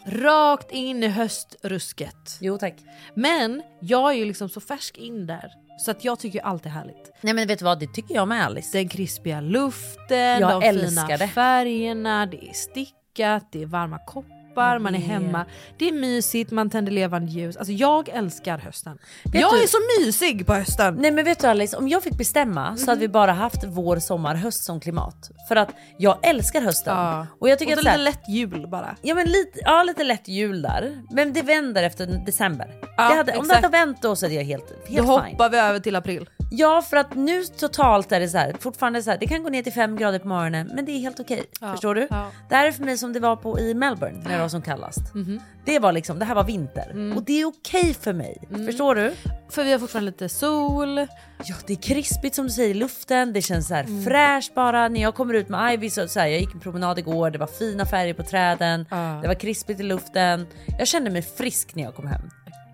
S3: Rakt in i höstrusket.
S1: Jo tack.
S3: Men jag är ju liksom så färsk in där. Så att jag tycker ju allt är härligt.
S1: Nej men vet du vad, det tycker jag med Alice.
S3: Den krispiga luften,
S1: Jag
S3: de
S1: älskar
S3: fina
S1: det.
S3: färgerna, det är stickat, det är varma koppar, man är
S1: vet.
S3: hemma. Det är mysigt, man tänder levande ljus. Alltså jag älskar hösten.
S1: Vet
S3: jag
S1: du-
S3: är så mysig på hösten.
S1: Nej men vet du Alice, om jag fick bestämma så hade vi bara haft vår, sommar, höst som klimat. För att jag älskar hösten. Och jag tycker
S3: Och
S1: att
S3: så
S1: så här,
S3: lite lätt jul bara.
S1: Ja men lite, ja, lite lätt jul där. Men det vänder efter december.
S3: Ja,
S1: det hade, om det
S3: exakt.
S1: hade vänt då så hade jag helt, helt
S3: Då
S1: fine.
S3: hoppar vi över till april.
S1: Ja för att nu totalt är det så här, fortfarande så här, det kan gå ner till 5 grader på morgonen men det är helt okej.
S3: Ja,
S1: Förstår du?
S3: ja.
S1: Det här är för mig som det var på i Melbourne när det var som kallast.
S3: Mhm.
S1: Det var liksom, det här var vinter och det är okej för mig.
S3: Mm.
S1: Förstår du?
S3: För vi har fortfarande lite sol.
S1: Ja det är krispigt som du säger i luften, det känns så här
S3: Mm.
S1: fräscht bara. När jag kommer ut med Ivy så, så här, jag gick en promenad igår, det var fina färger på träden, det var krispigt i luften. Jag kände mig frisk när jag kom hem.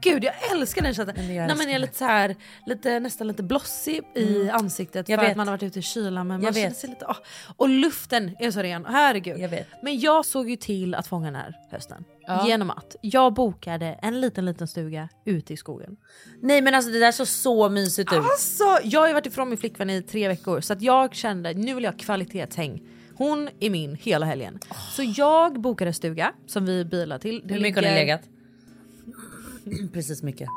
S3: Gud jag älskar den känslan. Nej, men jag är lite så här, lite, nästan lite blossig i
S1: Mm.
S3: ansiktet
S1: Jag
S3: för
S1: vet.
S3: att man har varit ute i kylan. Men man
S1: Jag
S3: känner
S1: vet.
S3: sig lite, åh. Och luften är så ren, herregud.
S1: Jag vet.
S3: Men jag såg ju till att fånga den här hösten.
S1: Ja.
S3: Genom att jag bokade en liten liten stuga ute i skogen.
S1: Nej men alltså det där såg så mysigt ut.
S3: Alltså jag har ju varit ifrån min flickvän i tre veckor så att jag kände nu vill jag ha kvalitetshäng. Hon är min hela helgen. Så jag bokade en stuga som vi bilar till. Det
S1: Hur mycket har ni
S3: ligger-
S1: legat? Precis mycket.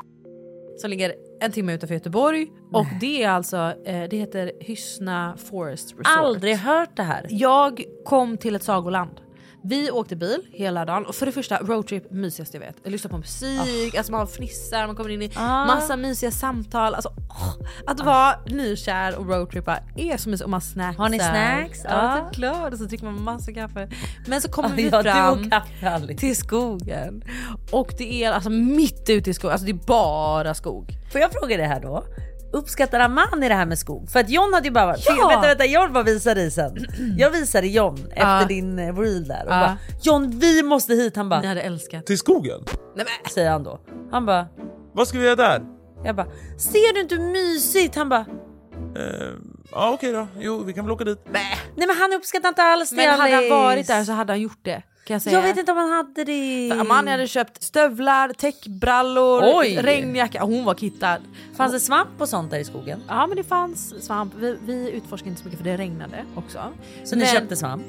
S3: som ligger en timme utanför Göteborg. Och det är alltså, eh, det heter Hyssna Forest Resort.
S1: Aldrig hört det här.
S3: Jag kom till ett sagoland. Vi åkte bil hela dagen och för det första roadtrip mysigast jag vet. Jag lyssnar på musik, alltså man fnissar, man kommer in i
S1: Ah.
S3: massa mysiga samtal. Alltså, åh, att vara nykär och roadtrippa är så mysigt. Och man snacksar.
S1: Har ni snacks?
S3: Ja
S1: Ja.
S3: såklart. Och så dricker man massa kaffe. Men så kommer
S1: Ja,
S3: vi
S1: ja, du och
S3: fram
S1: kaffe, Alice.
S3: till skogen. Och det är alltså mitt ute i skogen, alltså det är bara skog.
S1: Får jag fråga det här då? Uppskattar Amani det här med skog? För att John hade ju bara varit...
S3: Ja!
S1: Vänta, vänta, jag vill bara visa dig sen. Jag visade John efter
S3: Ja.
S1: din eh, reel där och
S3: Ja.
S1: bara John vi måste hit. Han bara...
S3: Ni hade älskat.
S5: Till skogen?
S3: Nej,
S1: Säger han då. Han bara...
S5: Vad ska vi göra där?
S1: Jag bara ser du inte hur mysigt? Han bara
S5: Eh, ja okej då, jo vi kan väl åka dit.
S1: nej men han uppskattar inte alls det
S3: Men hade han
S1: Alice."
S3: varit där så hade han gjort det. Kan jag säga.
S1: Jag vet inte om han hade det.
S3: För Amanda hade köpt stövlar, täckbrallor,
S1: Oj!
S3: regnjacka. Hon var kittad.
S1: Fanns det svamp och sånt där i skogen?
S3: Ja men det fanns svamp. Vi, vi utforskade inte så mycket för det regnade också.
S1: Så ni
S3: Men-
S1: köpte svamp?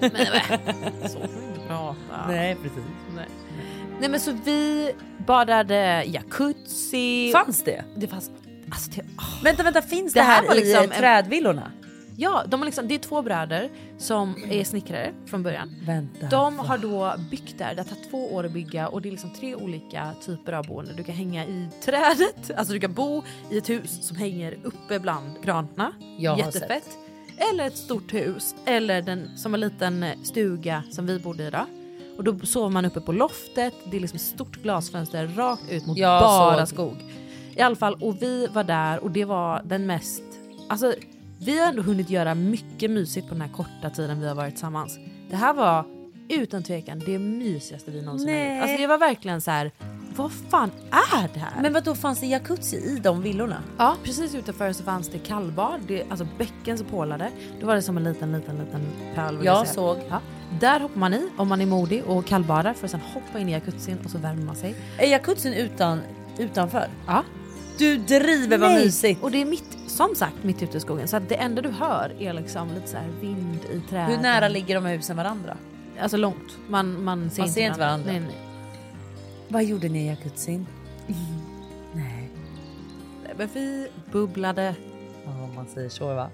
S3: Så får vi inte prata.
S1: Nej precis.
S3: Nej. Nej men så vi badade jacuzzi.
S1: Fanns det?
S3: Det fanns... Alltså, det,
S1: Vänta vänta finns det,
S3: Det här
S1: här,
S3: var
S1: i
S3: liksom
S1: liksom
S3: en-
S1: trädvillorna?
S3: Ja, de har liksom, det är två bröder som är snickrare från början.
S1: Vänta.
S3: De har då byggt där, det har tagit två år att bygga och det är liksom tre olika typer av boende. Du kan hänga i trädet, alltså du kan bo i ett hus som hänger uppe bland granarna.
S1: Jag har
S3: Jättefett. Eller ett stort hus, eller den, som en liten stuga som vi bodde i då. Och då sover man uppe på loftet, det är liksom ett stort glasfönster rakt ut mot
S1: Jag
S3: bara
S1: såg.
S3: skog. I alla fall, och vi var där och det var den mest... Alltså, vi har ändå hunnit göra mycket mysigt på den här korta tiden vi har varit tillsammans. Det här var utan tvekan det mysigaste vi någonsin har
S1: Nej.
S3: gjort. Alltså det var verkligen så här. vad fan är det här?
S1: Men vad då fanns det jacuzzi i de villorna?
S3: Ja, precis utanför så fanns det kallbad, det, alltså bäcken så pålade. Då var det som en liten, liten, liten pöl. vill
S1: Jag
S3: säga.
S1: såg.
S3: Ja. Där hoppar man i om man är modig och kallbadar för att sen hoppa in i jacuzzin och så värmer man sig.
S1: Är jacuzzin utan, utanför?
S3: Ja.
S1: Du driver vad
S3: Nej.
S1: mysigt!
S3: Och det är mitt, som sagt mitt ute i skogen. Så att det enda du hör är liksom lite så här vind i träden.
S1: Hur nära ligger de här husen varandra?
S3: Alltså långt. Man, man ser,
S1: Man ser inte varandra.
S3: Nej, nej.
S1: Vad gjorde ni i jacuzzin?
S3: Nej, Men vi bubblade.
S1: Ja, man säger så va?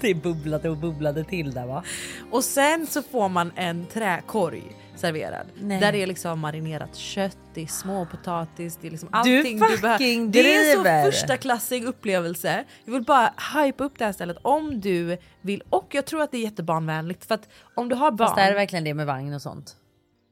S1: det bubblade och bubblade till där va?
S3: Och sen så får man en träkorg serverad.
S1: Nej.
S3: Där det är liksom marinerat kött, det är småpotatis, det är liksom allting
S1: Du
S3: behöver.
S1: fucking
S3: Det är
S1: driver.
S3: så första klassig upplevelse. Jag vill bara hypa upp det här stället om du vill. Och jag tror att det är jättebarnvänligt för att om du har barn.
S1: Fast är det verkligen det med vagn och sånt?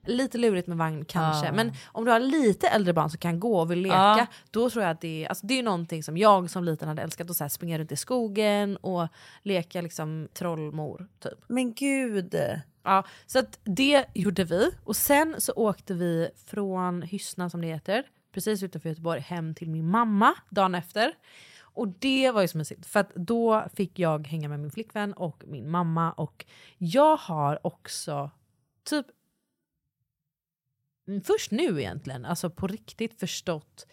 S3: Lite lurigt med vagn kanske,
S1: Ah.
S3: men om du har lite äldre barn som kan gå och vill leka,
S1: Ja.
S3: då tror jag att det är, alltså det är ju någonting som jag som liten hade älskat, att så här springa runt i skogen och leka liksom trollmor. Typ.
S1: Men gud!
S3: Ja, så att det gjorde vi. Och sen så åkte vi från Hyssna som det heter, precis utanför Göteborg, hem till min mamma dagen efter. Och det var ju så mysigt, för att då fick jag hänga med min flickvän och min mamma. Och jag har också typ Mm, först nu egentligen, alltså på riktigt förstått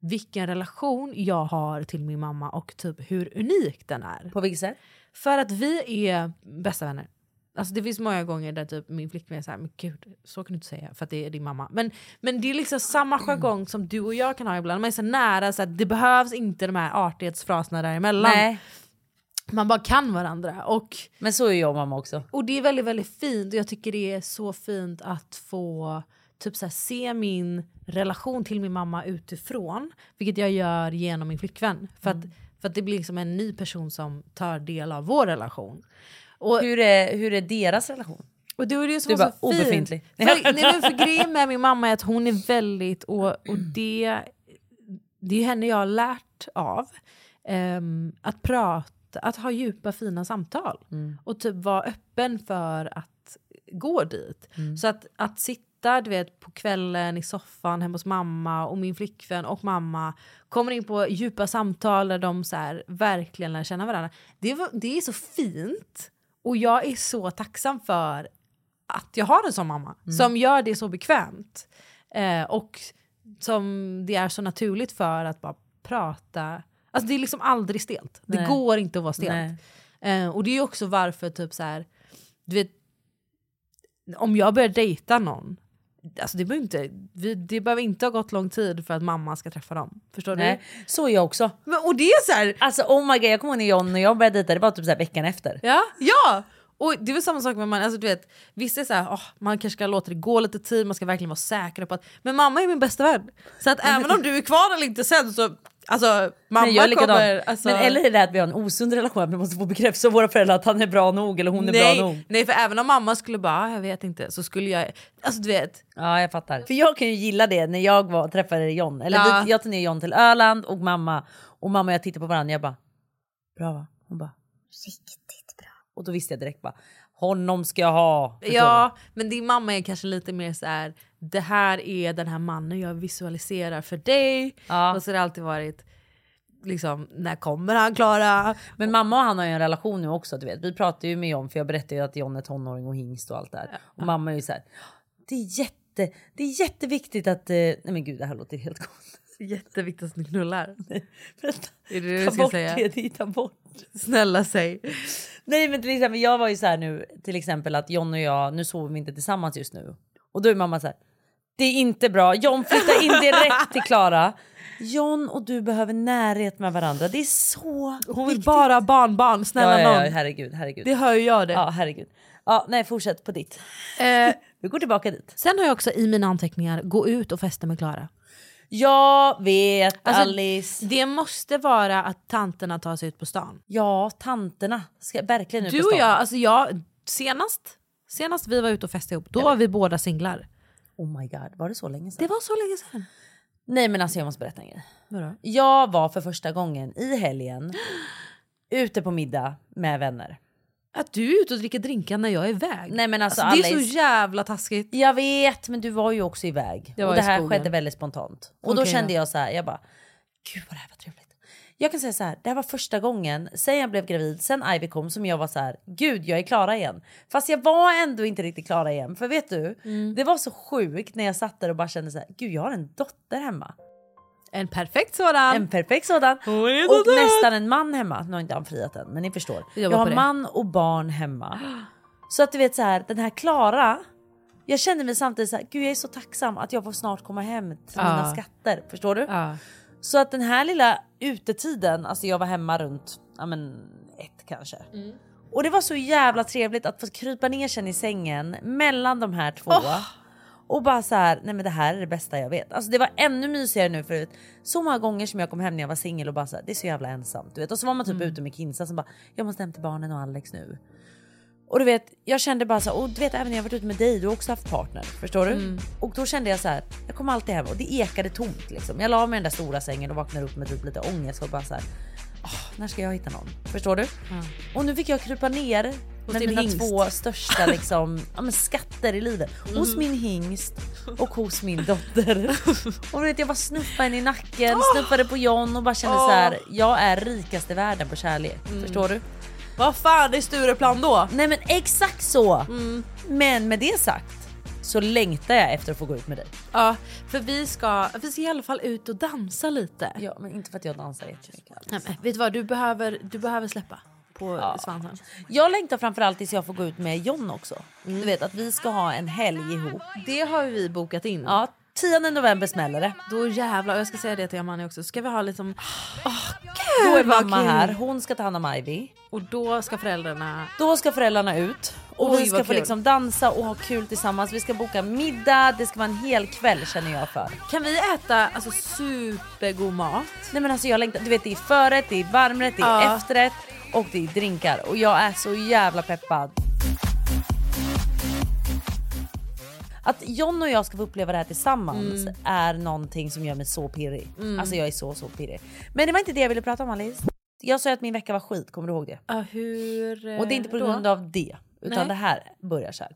S3: vilken relation jag har till min mamma och typ hur unik den är.
S1: På vilket sätt?
S3: För att vi är bästa vänner. Alltså det finns många gånger där typ min flickvän är såhär, men gud så kan du inte säga för att det är din mamma. Men, men det är liksom samma jargong som du och jag kan ha ibland. Man är så nära så att det behövs inte de här artighetsfraserna däremellan.
S1: Nej.
S3: Man bara kan varandra. Och
S1: Men så är jag och mamma också.
S3: och det är väldigt, väldigt fint. Och jag tycker det är så fint att få typ så här, se min relation till min mamma utifrån. Vilket jag gör genom min flickvän. För, att, för att det blir liksom en ny person som tar del av vår relation. Och,
S1: hur, är, hur är deras relation?
S3: Och det är det som
S1: Du
S3: var
S1: bara,
S3: så fint.
S1: obefintlig.
S3: För, nej, men för grejen med min mamma är att hon är väldigt, och, och det, det är henne jag har lärt av. ehm, att prata, att ha djupa fina samtal.
S1: Mm.
S3: Och typ vara öppen för att gå dit.
S1: Mm.
S3: Så att, att sitta du vet, på kvällen i soffan hemma hos mamma och min flickvän och mamma kommer in på djupa samtal där de så här, verkligen lär känna varandra. Det, var- det är så fint. Och jag är så tacksam för att jag har en sån mamma
S1: Mm.
S3: som gör det så bekvämt. Eh, och som det är så naturligt för att bara prata. Alltså det är liksom aldrig stelt. Det
S1: Nej.
S3: går inte att vara
S1: Nej.
S3: stelt. Eh, och det är ju också varför typ så här, du vet, om jag börjar dejta någon, alltså det behöver inte, vi, det behöver inte ha gått lång tid för att mamma ska träffa dem. Förstår
S1: Nej.
S3: du?
S1: Så är jag också.
S3: Men, och det är så här,
S1: Alltså oh my god, jag kommer ihåg när John och jag började dejta, det var typ så här veckan efter.
S3: Ja, ja! Och det är väl samma sak med man, alltså du vet, vissa är såhär, åh man kanske ska låta det gå lite tid, man ska verkligen vara säker på att, men mamma är min bästa vän. Så att även om du är kvar eller inte sen så, alltså mamma
S1: Nej, jag är likadan.
S3: kommer... Alltså,
S1: Men eller är det att vi har en osund relation, att vi måste få bekräftelse av våra föräldrar att han är bra nog eller hon är
S3: nej,
S1: bra nog.
S3: nej, för även om mamma skulle bara, "Ah, jag vet inte, så skulle jag, alltså du vet.
S1: Ja jag fattar. För jag kan ju gilla det när jag var, träffade John, eller
S3: Ja.
S1: vi, jag tog ner John till Öland och mamma, och mamma och jag tittade på varandra jag bara bra va? Hon bara riktigt bra. Och då visste jag direkt bara honom ska jag ha. Förstår du?
S3: Ja, men din mamma är kanske lite mer så här. det här är den här mannen jag visualiserar för dig. Och så har det alltid varit, liksom, när kommer han Klara?
S1: Men mamma och han har ju en relation nu också du vet. Vi pratar ju med John för jag berättade ju att John är tonåring och hingst och allt det här. Och mamma är ju så här, det är jätte, det är jätteviktigt att, eh, nej men gud det här låter helt gott.
S3: Jätteviktigt att ni knullar.
S1: Vänta.
S3: Är det det du
S1: ta
S3: ska
S1: bort
S3: säga?
S1: det, det, ta bort.
S3: Snälla säg.
S1: Nej men till exempel jag var ju så här nu till exempel att John och jag, nu sover vi inte tillsammans just nu. Och då är mamma så här, det är inte bra, John flyttar in direkt till Klara. John och du behöver närhet med varandra. Det är så
S3: Hon vill bara ha barnbarn, snälla
S1: ja, ja, ja,
S3: nån.
S1: herregud, herregud.
S3: Det hör ju jag det.
S1: Ja, herregud. Ja, nej, fortsätt på ditt. Vi går tillbaka dit.
S3: Eh, Sen har jag också i mina anteckningar, gå ut och festa med Klara.
S1: Jag vet
S3: Alltså,
S1: Alice.
S3: Det måste vara att tanterna tar sig ut på stan.
S1: Ja, tanterna. Ska verkligen ut på
S3: Du och
S1: stan.
S3: jag, alltså jag, senast, senast vi var ute och festade ihop, då var vi båda singlar.
S1: Oh my god, var det så länge sedan?
S3: Det var så länge sedan.
S1: Nej men alltså jag måste berätta en grej.
S3: Vadå?
S1: Jag var för första gången i helgen ute på middag med vänner.
S3: Att du är ute och dricker drinkar när jag är iväg.
S1: Nej men alltså,
S3: Alltså, det är
S1: Alice,
S3: så jävla taskigt.
S1: Jag vet men du var ju också iväg.
S3: Jag var
S1: och det
S3: i
S1: här
S3: skogen.
S1: skedde väldigt spontant. Och då
S3: Okej,
S1: kände
S3: ja.
S1: jag så här, jag bara gud vad det här var trevligt. Jag kan säga så här, det här var första gången sen jag blev gravid, sen Ivy kom som jag var så här, gud jag är Klara igen. Fast jag var ändå inte riktigt Klara igen. För vet du,
S3: Mm.
S1: det var så sjukt när jag satt där och bara kände så här, gud jag har en dotter hemma.
S3: En perfekt sådan.
S1: En perfekt sådan.
S3: så
S1: Och
S3: söt.
S1: nästan en man hemma. Nu har inte han friat än men ni förstår.
S3: Vi
S1: Jag
S3: jobbar
S1: har
S3: på det.
S1: man och barn hemma. Så att du vet så här, den här Klara. Jag känner mig samtidigt så här, gud jag är så tacksam att jag får snart komma hem till
S3: Ja.
S1: mina skatter. Förstår du?
S3: Ja.
S1: Så att den här lilla utetiden, alltså jag var hemma runt ja, men ett kanske. Och det var så jävla trevligt att få krypa ner sen i sängen mellan de här två. Och bara så här, nej men det här är det bästa jag vet. Alltså det var ännu mysigare nu förut. Så många gånger som jag kom hem när jag var singel och bara så här, det är så jävla ensamt. Du vet. Och så var man typ ute med Kinsa som bara, jag måste hem till barnen och Alex nu. Och du vet, jag kände bara så här, och du vet även när jag varit ute med dig, du har också haft partner. Förstår du?
S3: Mm.
S1: Och då kände jag så här, jag kom alltid hem och det ekade tomt liksom. Jag la mig i den där stora sängen och vaknade upp med typ lite ångest och bara så här, "Åh, när ska jag hitta någon? Förstår du? Och nu fick jag krypa ner med
S3: din
S1: mina
S3: hingst.
S1: två största liksom, ja, men skatter i livet. Hos
S3: Mm.
S1: min hingst och hos min dotter. och du vet jag bara snuffade henne i
S3: Ah!
S1: nacken, snuffade på John och bara kände så här, jag är rikast i världen på kärlek.
S3: Mm.
S1: Förstår du?
S3: Vad fan, det är Stureplan då?
S1: Nej men exakt så! Men med det sagt så längtar jag efter att få gå ut med dig.
S3: Ja, för vi ska, vi ska i alla fall ut och dansa lite.
S1: Ja men inte för att jag dansar jättemycket.
S3: Nej, men, vet du vad, du behöver, du behöver släppa på svansen.
S1: Jag längtar framförallt tills jag får gå ut med John också. Du vet att vi ska ha en helg ihop.
S3: Det har vi bokat in.
S1: Ja, 10 november smäller det.
S3: Då jävlar, och jag ska säga det till Amanda också, ska vi ha liksom...
S1: Då är
S3: vad
S1: mamma
S3: kul.
S1: här, hon ska ta hand om Ivy.
S3: Och då ska föräldrarna...
S1: Då ska föräldrarna ut och
S3: Oj,
S1: vi ska
S3: vad
S1: få
S3: kul.
S1: liksom dansa och ha kul tillsammans. Vi ska boka middag, det ska vara en hel kväll känner jag för.
S3: Kan vi äta alltså, supergod mat?
S1: Nej men alltså jag längtar, du vet det är förrätt, det är varmrätt, det är
S3: Ja.
S1: efterrätt och det är drinkar och jag är så jävla peppad. Att John och jag ska få uppleva det här tillsammans
S3: Mm.
S1: är någonting som gör mig så pirrig. Alltså jag är så så pirrig. Men det var inte det jag ville prata om Alice. Jag sa ju att min vecka var skit, kommer du ihåg det?
S3: Ja, hur... eh,
S1: Och det är inte på
S3: då?
S1: grund av det, utan
S3: Nej.
S1: det här börjar så här.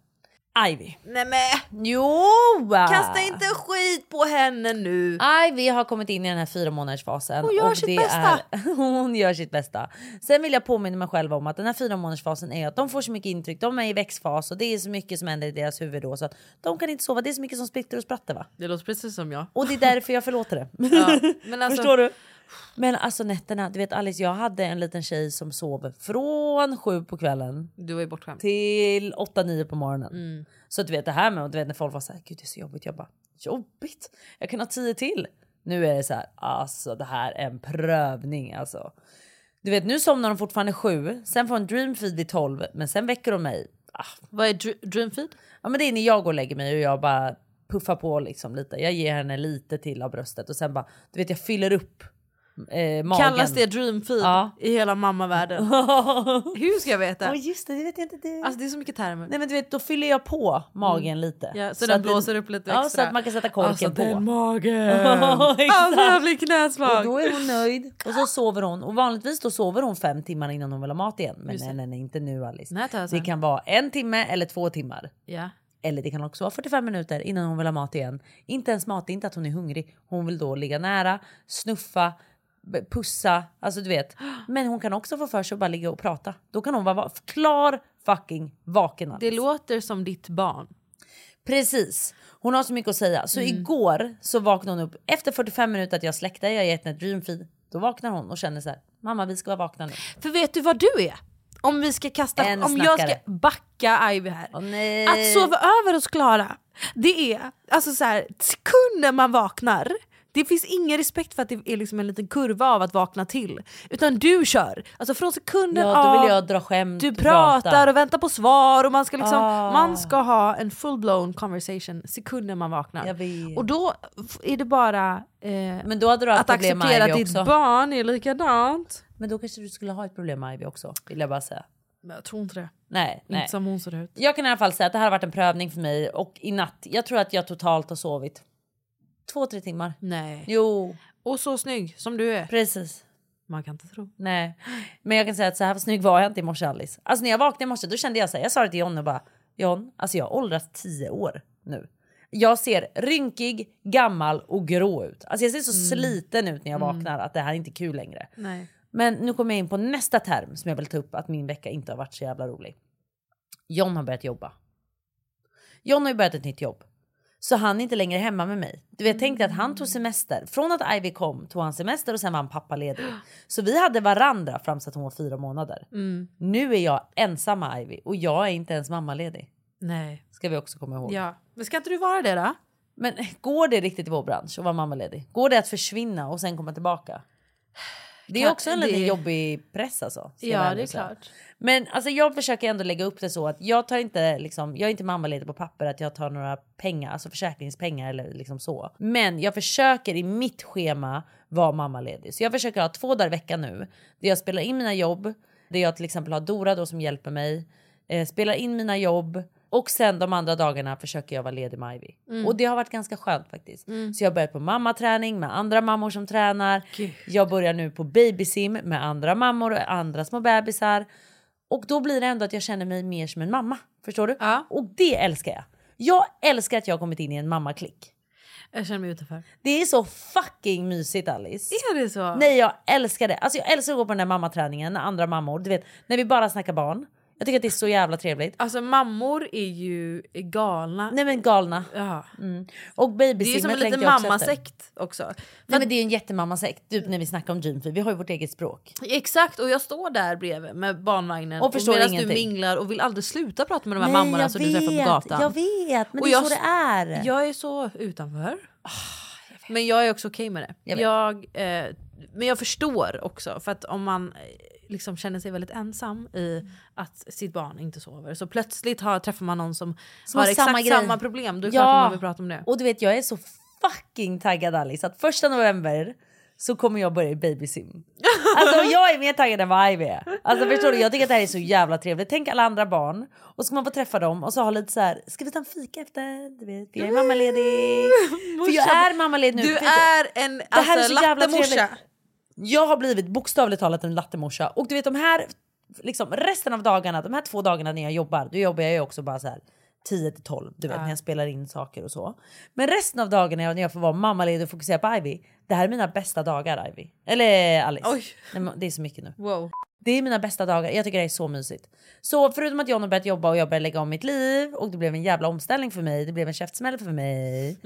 S1: Ivy.
S3: Nej men!
S1: Jo!
S3: Kasta inte skit på henne nu!
S1: Ivy har kommit in i den här fyra månadersfasen.
S3: Hon gör sitt bästa.
S1: Är, hon gör sitt bästa. Sen vill jag påminna mig själv om att den här fyra månadersfasen är att de får så mycket intryck. De är i växtfas och det är så mycket som händer i deras huvud då så att de kan inte sova. Det är så mycket som splitter och sprattar va?
S3: Det låter precis som jag.
S1: Och det är därför jag förlåter det.
S3: Ja, men alltså-
S1: Förstår du? Men alltså nätterna, du vet Alice jag hade en liten tjej som sov från sju på kvällen
S3: Du var ju bortskämd.
S1: till 8-9 på morgonen.
S3: Mm.
S1: Så att du vet det här med och du vet när folk var så här, gud det är så jobbigt. Jag bara, jobbigt? Jag kan ha 10 till. Nu är det så här, alltså det här är en prövning alltså. Du vet nu somnar de fortfarande sju, sen får en dreamfeed vid 12 men sen väcker de mig. Ah,
S3: Vad är dr- Dreamfeed?
S1: ja men det är när jag går och lägger mig och jag bara puffar på liksom lite. Jag ger henne lite till av bröstet och sen bara, du vet jag fyller upp eh, magen.
S3: Kallas det Dreamfeed
S1: Ja.
S3: i hela mammavärlden? Hur ska jag veta?
S1: Ja just det, det vet jag inte. Det...
S3: Alltså det är så mycket termer.
S1: Nej men du vet då fyller jag på magen lite.
S3: Mm. Ja, så, den
S1: att
S3: blåser upp lite
S1: Ja,
S3: extra.
S1: så att man kan sätta korken
S3: alltså,
S1: på.
S3: Den magen!
S1: exakt.
S3: alltså jag blir
S1: Och
S3: knäsvag.
S1: då är hon nöjd och så sover hon. Och vanligtvis då sover hon fem timmar innan hon vill ha mat igen. Men
S3: Just det.
S1: nej, nej, nej, inte nu Alice.
S3: Nej, tar jag
S1: det
S3: sen.
S1: kan vara en timme eller två timmar.
S3: Ja.
S1: Eller det kan också vara 45 minuter innan hon vill ha mat igen. Inte ens mat, det är inte att hon är hungrig. Hon vill då ligga nära, snuffa, b- pussa, alltså du vet. Men hon kan också få för sig att bara ligga och prata. Då kan hon vara va- klar fucking vaken. Alice.
S3: Det låter som ditt barn.
S1: Precis. Hon har så mycket att säga. Så
S3: Mm.
S1: igår så vaknade hon upp efter 45 minuter att jag släckte, jag har gett henne ett dreamfeed. Då vaknar hon och känner så här, mamma vi ska vara vakna nu.
S3: För vet du vad du är? Om vi ska kasta,
S1: En
S3: om jag ska
S1: snackare.
S3: backa Ivy här.
S1: Åh, nej.
S3: Att sova över hos Klara, det är alltså så här, sekunden man vaknar, Det finns ingen respekt för att det är liksom en liten kurva av att vakna till. Utan du kör. Alltså från sekunden
S1: Ja, då vill
S3: av-
S1: jag dra skämt
S3: Du
S1: och
S3: pratar
S1: prata.
S3: och väntar på svar och man ska, liksom,
S1: Ah.
S3: man ska ha en full-blown conversation sekunden man vaknar. Och då f- är det bara eh,
S1: Men då hade du haft
S3: att
S1: problem med
S3: acceptera
S1: Ivy
S3: att ditt
S1: också.
S3: barn är likadant.
S1: Men då kanske du skulle ha ett problem med Ivy också, vill jag bara säga.
S3: Men jag tror inte det.
S1: Nej,
S3: Inte
S1: nej.
S3: som hon ser ut.
S1: Jag kan i alla fall säga att det här har varit en prövning för mig och i natt, jag tror att jag totalt har sovit två, tre timmar.
S3: Nej.
S1: Jo.
S3: Och så snygg som du är.
S1: Precis.
S3: Man kan inte tro.
S1: Nej, men jag kan säga att så här snygg var jag inte i morse Alice. Alltså när jag vaknade i morse då kände jag så här, jag sa det till John och bara John, alltså jag har åldrats 10 år nu. Jag ser rynkig, gammal och grå ut. Alltså jag ser så
S3: Mm.
S1: sliten ut när jag
S3: Mm.
S1: vaknar att det här är inte kul längre.
S3: Nej.
S1: Men nu kommer jag in på nästa term som jag vill ta upp att min vecka inte har varit så jävla rolig. John har börjat jobba. John har ju börjat ett nytt jobb. Så han är inte längre hemma med mig. Du vet, tänk dig att han tog semester. Från att Ivy kom tog han semester och sen var han pappaledig. Så vi hade varandra fram till att hon var fyra månader.
S3: Mm.
S1: Nu är jag ensam med Ivy och jag är inte ens mammaledig.
S3: Nej.
S1: Ska vi också komma ihåg.
S3: Ja. Men ska inte du vara det då?
S1: Men går det riktigt i vår bransch att vara mammaledig? Går det att försvinna och sen komma tillbaka? Det är
S3: Kan-
S1: också en liten
S3: det-
S1: jobbig press alltså. ska jag
S3: Ja,
S1: vara ärlig
S3: det är
S1: och säga.
S3: klart.
S1: Men alltså, jag försöker ändå lägga upp det så att jag tar inte liksom, jag är inte mammaledig på papper att jag tar några pengar, alltså försäkringspengar eller liksom så. Men jag försöker i mitt schema vara mammaledig. Så jag försöker ha två dagar i veckan nu där jag spelar in mina jobb, där jag till exempel har Dora då som hjälper mig, eh, spelar in mina jobb och sen de andra dagarna försöker jag vara ledig med Ivy.
S3: Mm.
S1: Och det har varit ganska skönt faktiskt.
S3: Mm.
S1: Så jag har börjat på mammaträning med andra mammor som tränar. Jag börjar nu på babysim med andra mammor och andra små bebisar. Och då blir det ändå att jag känner mig mer som en mamma. Förstår du? Och det älskar jag. Jag älskar att jag har kommit in i en mammaklick.
S3: Jag känner mig utanför.
S1: Det är så fucking mysigt Alice.
S3: Är det så?
S1: Nej jag älskar det. Alltså jag älskar att gå på den här mammaträningen med andra mammor. Du vet när vi bara snackar barn. Jag tycker att det är så jävla trevligt.
S3: Alltså mammor är ju galna.
S1: Nej men galna.
S3: Ja.
S1: Mm. Och
S3: Det är ju
S1: babysimmet
S3: som en
S1: längtar
S3: liten
S1: jag också efter.
S3: mammasekt också.
S1: Nej men det är ju en jättemammasekt. Typ när vi snackar om Dream för vi har ju vårt eget språk.
S3: Exakt och jag står där bredvid med barnvagnen
S1: Och förstår
S3: medan du
S1: ingenting.
S3: minglar och vill aldrig sluta prata med de här
S1: Nej,
S3: mammorna
S1: jag
S3: som du träffar
S1: vet,
S3: på gatan.
S1: Jag vet, men
S3: Och
S1: det är
S3: jag
S1: så det
S3: s-
S1: är.
S3: Jag är så utanför. men jag är också okej med det.
S1: Ah, Jag
S3: Jag
S1: vet.
S3: eh, men jag förstår också för att om man eh, liksom känner sig väldigt ensam i
S1: Mm.
S3: att sitt barn inte sover så plötsligt har, träffar man någon som,
S1: Som
S3: har
S1: har
S3: exakt
S1: samma
S3: samma,
S1: grej.
S3: problem. Då är det
S1: Ja.
S3: klart att man vill prata om det.
S1: Och du vet jag är så fucking taggad Alice att första november så kommer jag börja i babysim. Alltså jag är mer taggad än vad Ivy är. Alltså förstår du, jag tycker att det här är så jävla trevligt. Tänk alla andra barn och så ska man få träffa dem och så ha lite så här, ska vi ta en fika efter? Du vet, jag är mammaledig. För jag
S3: Morsan,
S1: är mammaledig nu.
S3: Du
S1: För-
S3: är en
S1: Det här är
S3: alltså,
S1: så jävla
S3: lattemorsa.
S1: trevligt. Jag har blivit bokstavligt talat en lattemorsa. Och du vet de här, liksom resten av dagarna, de här två dagarna när jag jobbar, då jobbar jag ju också bara så här 10 till 12, du vet
S3: Ja.
S1: när jag spelar in saker och så. Men resten av dagarna jag- när jag får vara mammaledig och fokusera på Ivy, det här är mina bästa dagar Ivy. Eller Alice.
S3: Oj.
S1: Nej, men det är så mycket nu.
S3: Wow.
S1: Det är mina bästa dagar, jag tycker det är så mysigt. Så förutom att John har börjat jobba och jag började lägga om mitt liv och det blev en jävla omställning för mig, det blev en käftsmäll för mig.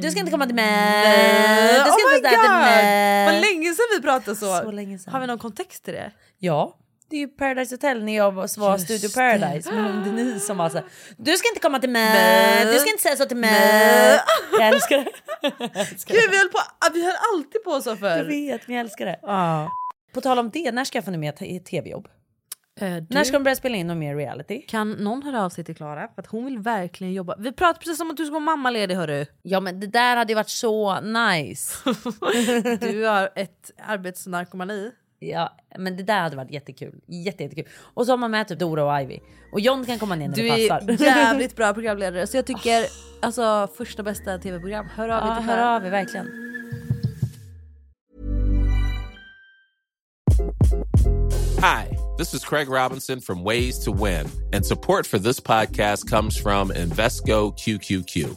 S1: Du ska inte komma till mig! Du ska
S3: Mm. oh my
S1: inte vara till mig!
S3: god! Vad länge sedan vi pratade så.
S1: Eh, Så länge sedan.
S3: Har vi någon kontext till det?
S1: Ja. Det är ju Paradise Hotel när jag var var Studio Paradise med hon Denise som var såhär Du ska inte komma till mig,
S3: Mö.
S1: du ska inte säga så till mig.
S3: Mö.
S1: Jag älskar det.
S3: Gud vi höll, på, vi höll alltid på så
S1: Jag
S3: förr.
S1: vet men jag älskar det.
S3: Ja.
S1: På tal om det, när ska jag få mer t- tv-jobb?
S3: Eh,
S1: När
S3: du,
S1: ska de börja spela in någon mer reality?
S3: Kan någon höra av sig till Klara? För att hon vill verkligen jobba. Vi pratar precis om att du ska vara mammaledig hörru.
S1: Ja men det där hade ju varit så nice.
S3: Du har ett arbetsnarkomani.
S1: Ja men det där hade varit jättekul. Jätte, jättekul. Och så har man med typ Dora och Ivy. Och John kan komma ner när
S3: Du
S1: det
S3: är
S1: passar.
S3: jävligt bra programledare så jag tycker alltså första bästa tv-program. Hör av
S1: Ja,
S3: er till
S1: hör
S3: Klara.
S1: av er verkligen.
S15: Hi, this is Craig Robinson from Ways to Win, and support for this podcast comes from Invesco QQQ.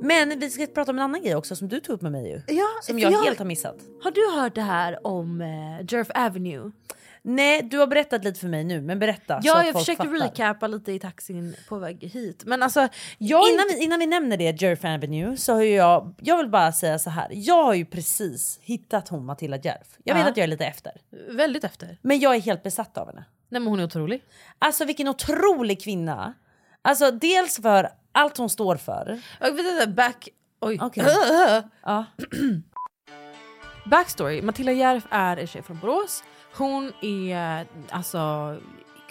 S1: Men vi ska prata om en annan grej också som du tog upp med mig ju.
S3: Ja,
S1: som
S3: för
S1: jag,
S3: jag-
S1: helt Ah. har missat.
S3: Har du hört det här om eh, Jerf Avenue?
S1: Nej, du har berättat lite för mig nu, men berätta. så
S3: Ja,
S1: att
S3: jag
S1: folk
S3: försökte
S1: fattar.
S3: recapa lite i taxin på väg hit. Men alltså, jag...
S1: Innan, vi, innan vi nämner det, Jerf Avenue, så har ju jag, jag vill bara säga så här. Jag har ju precis hittat hon Matilda Jerf. Jag vet
S3: Ja.
S1: att jag är lite efter.
S3: Väldigt efter.
S1: Men jag är helt besatt av henne.
S3: Nej men hon är otrolig.
S1: Alltså vilken otrolig kvinna. Alltså dels för allt hon står för.
S3: Jag vet inte, back... Oj.
S1: Okej. ja.
S3: Backstory, Matilda Järf är en tjej från Borås. Hon är alltså...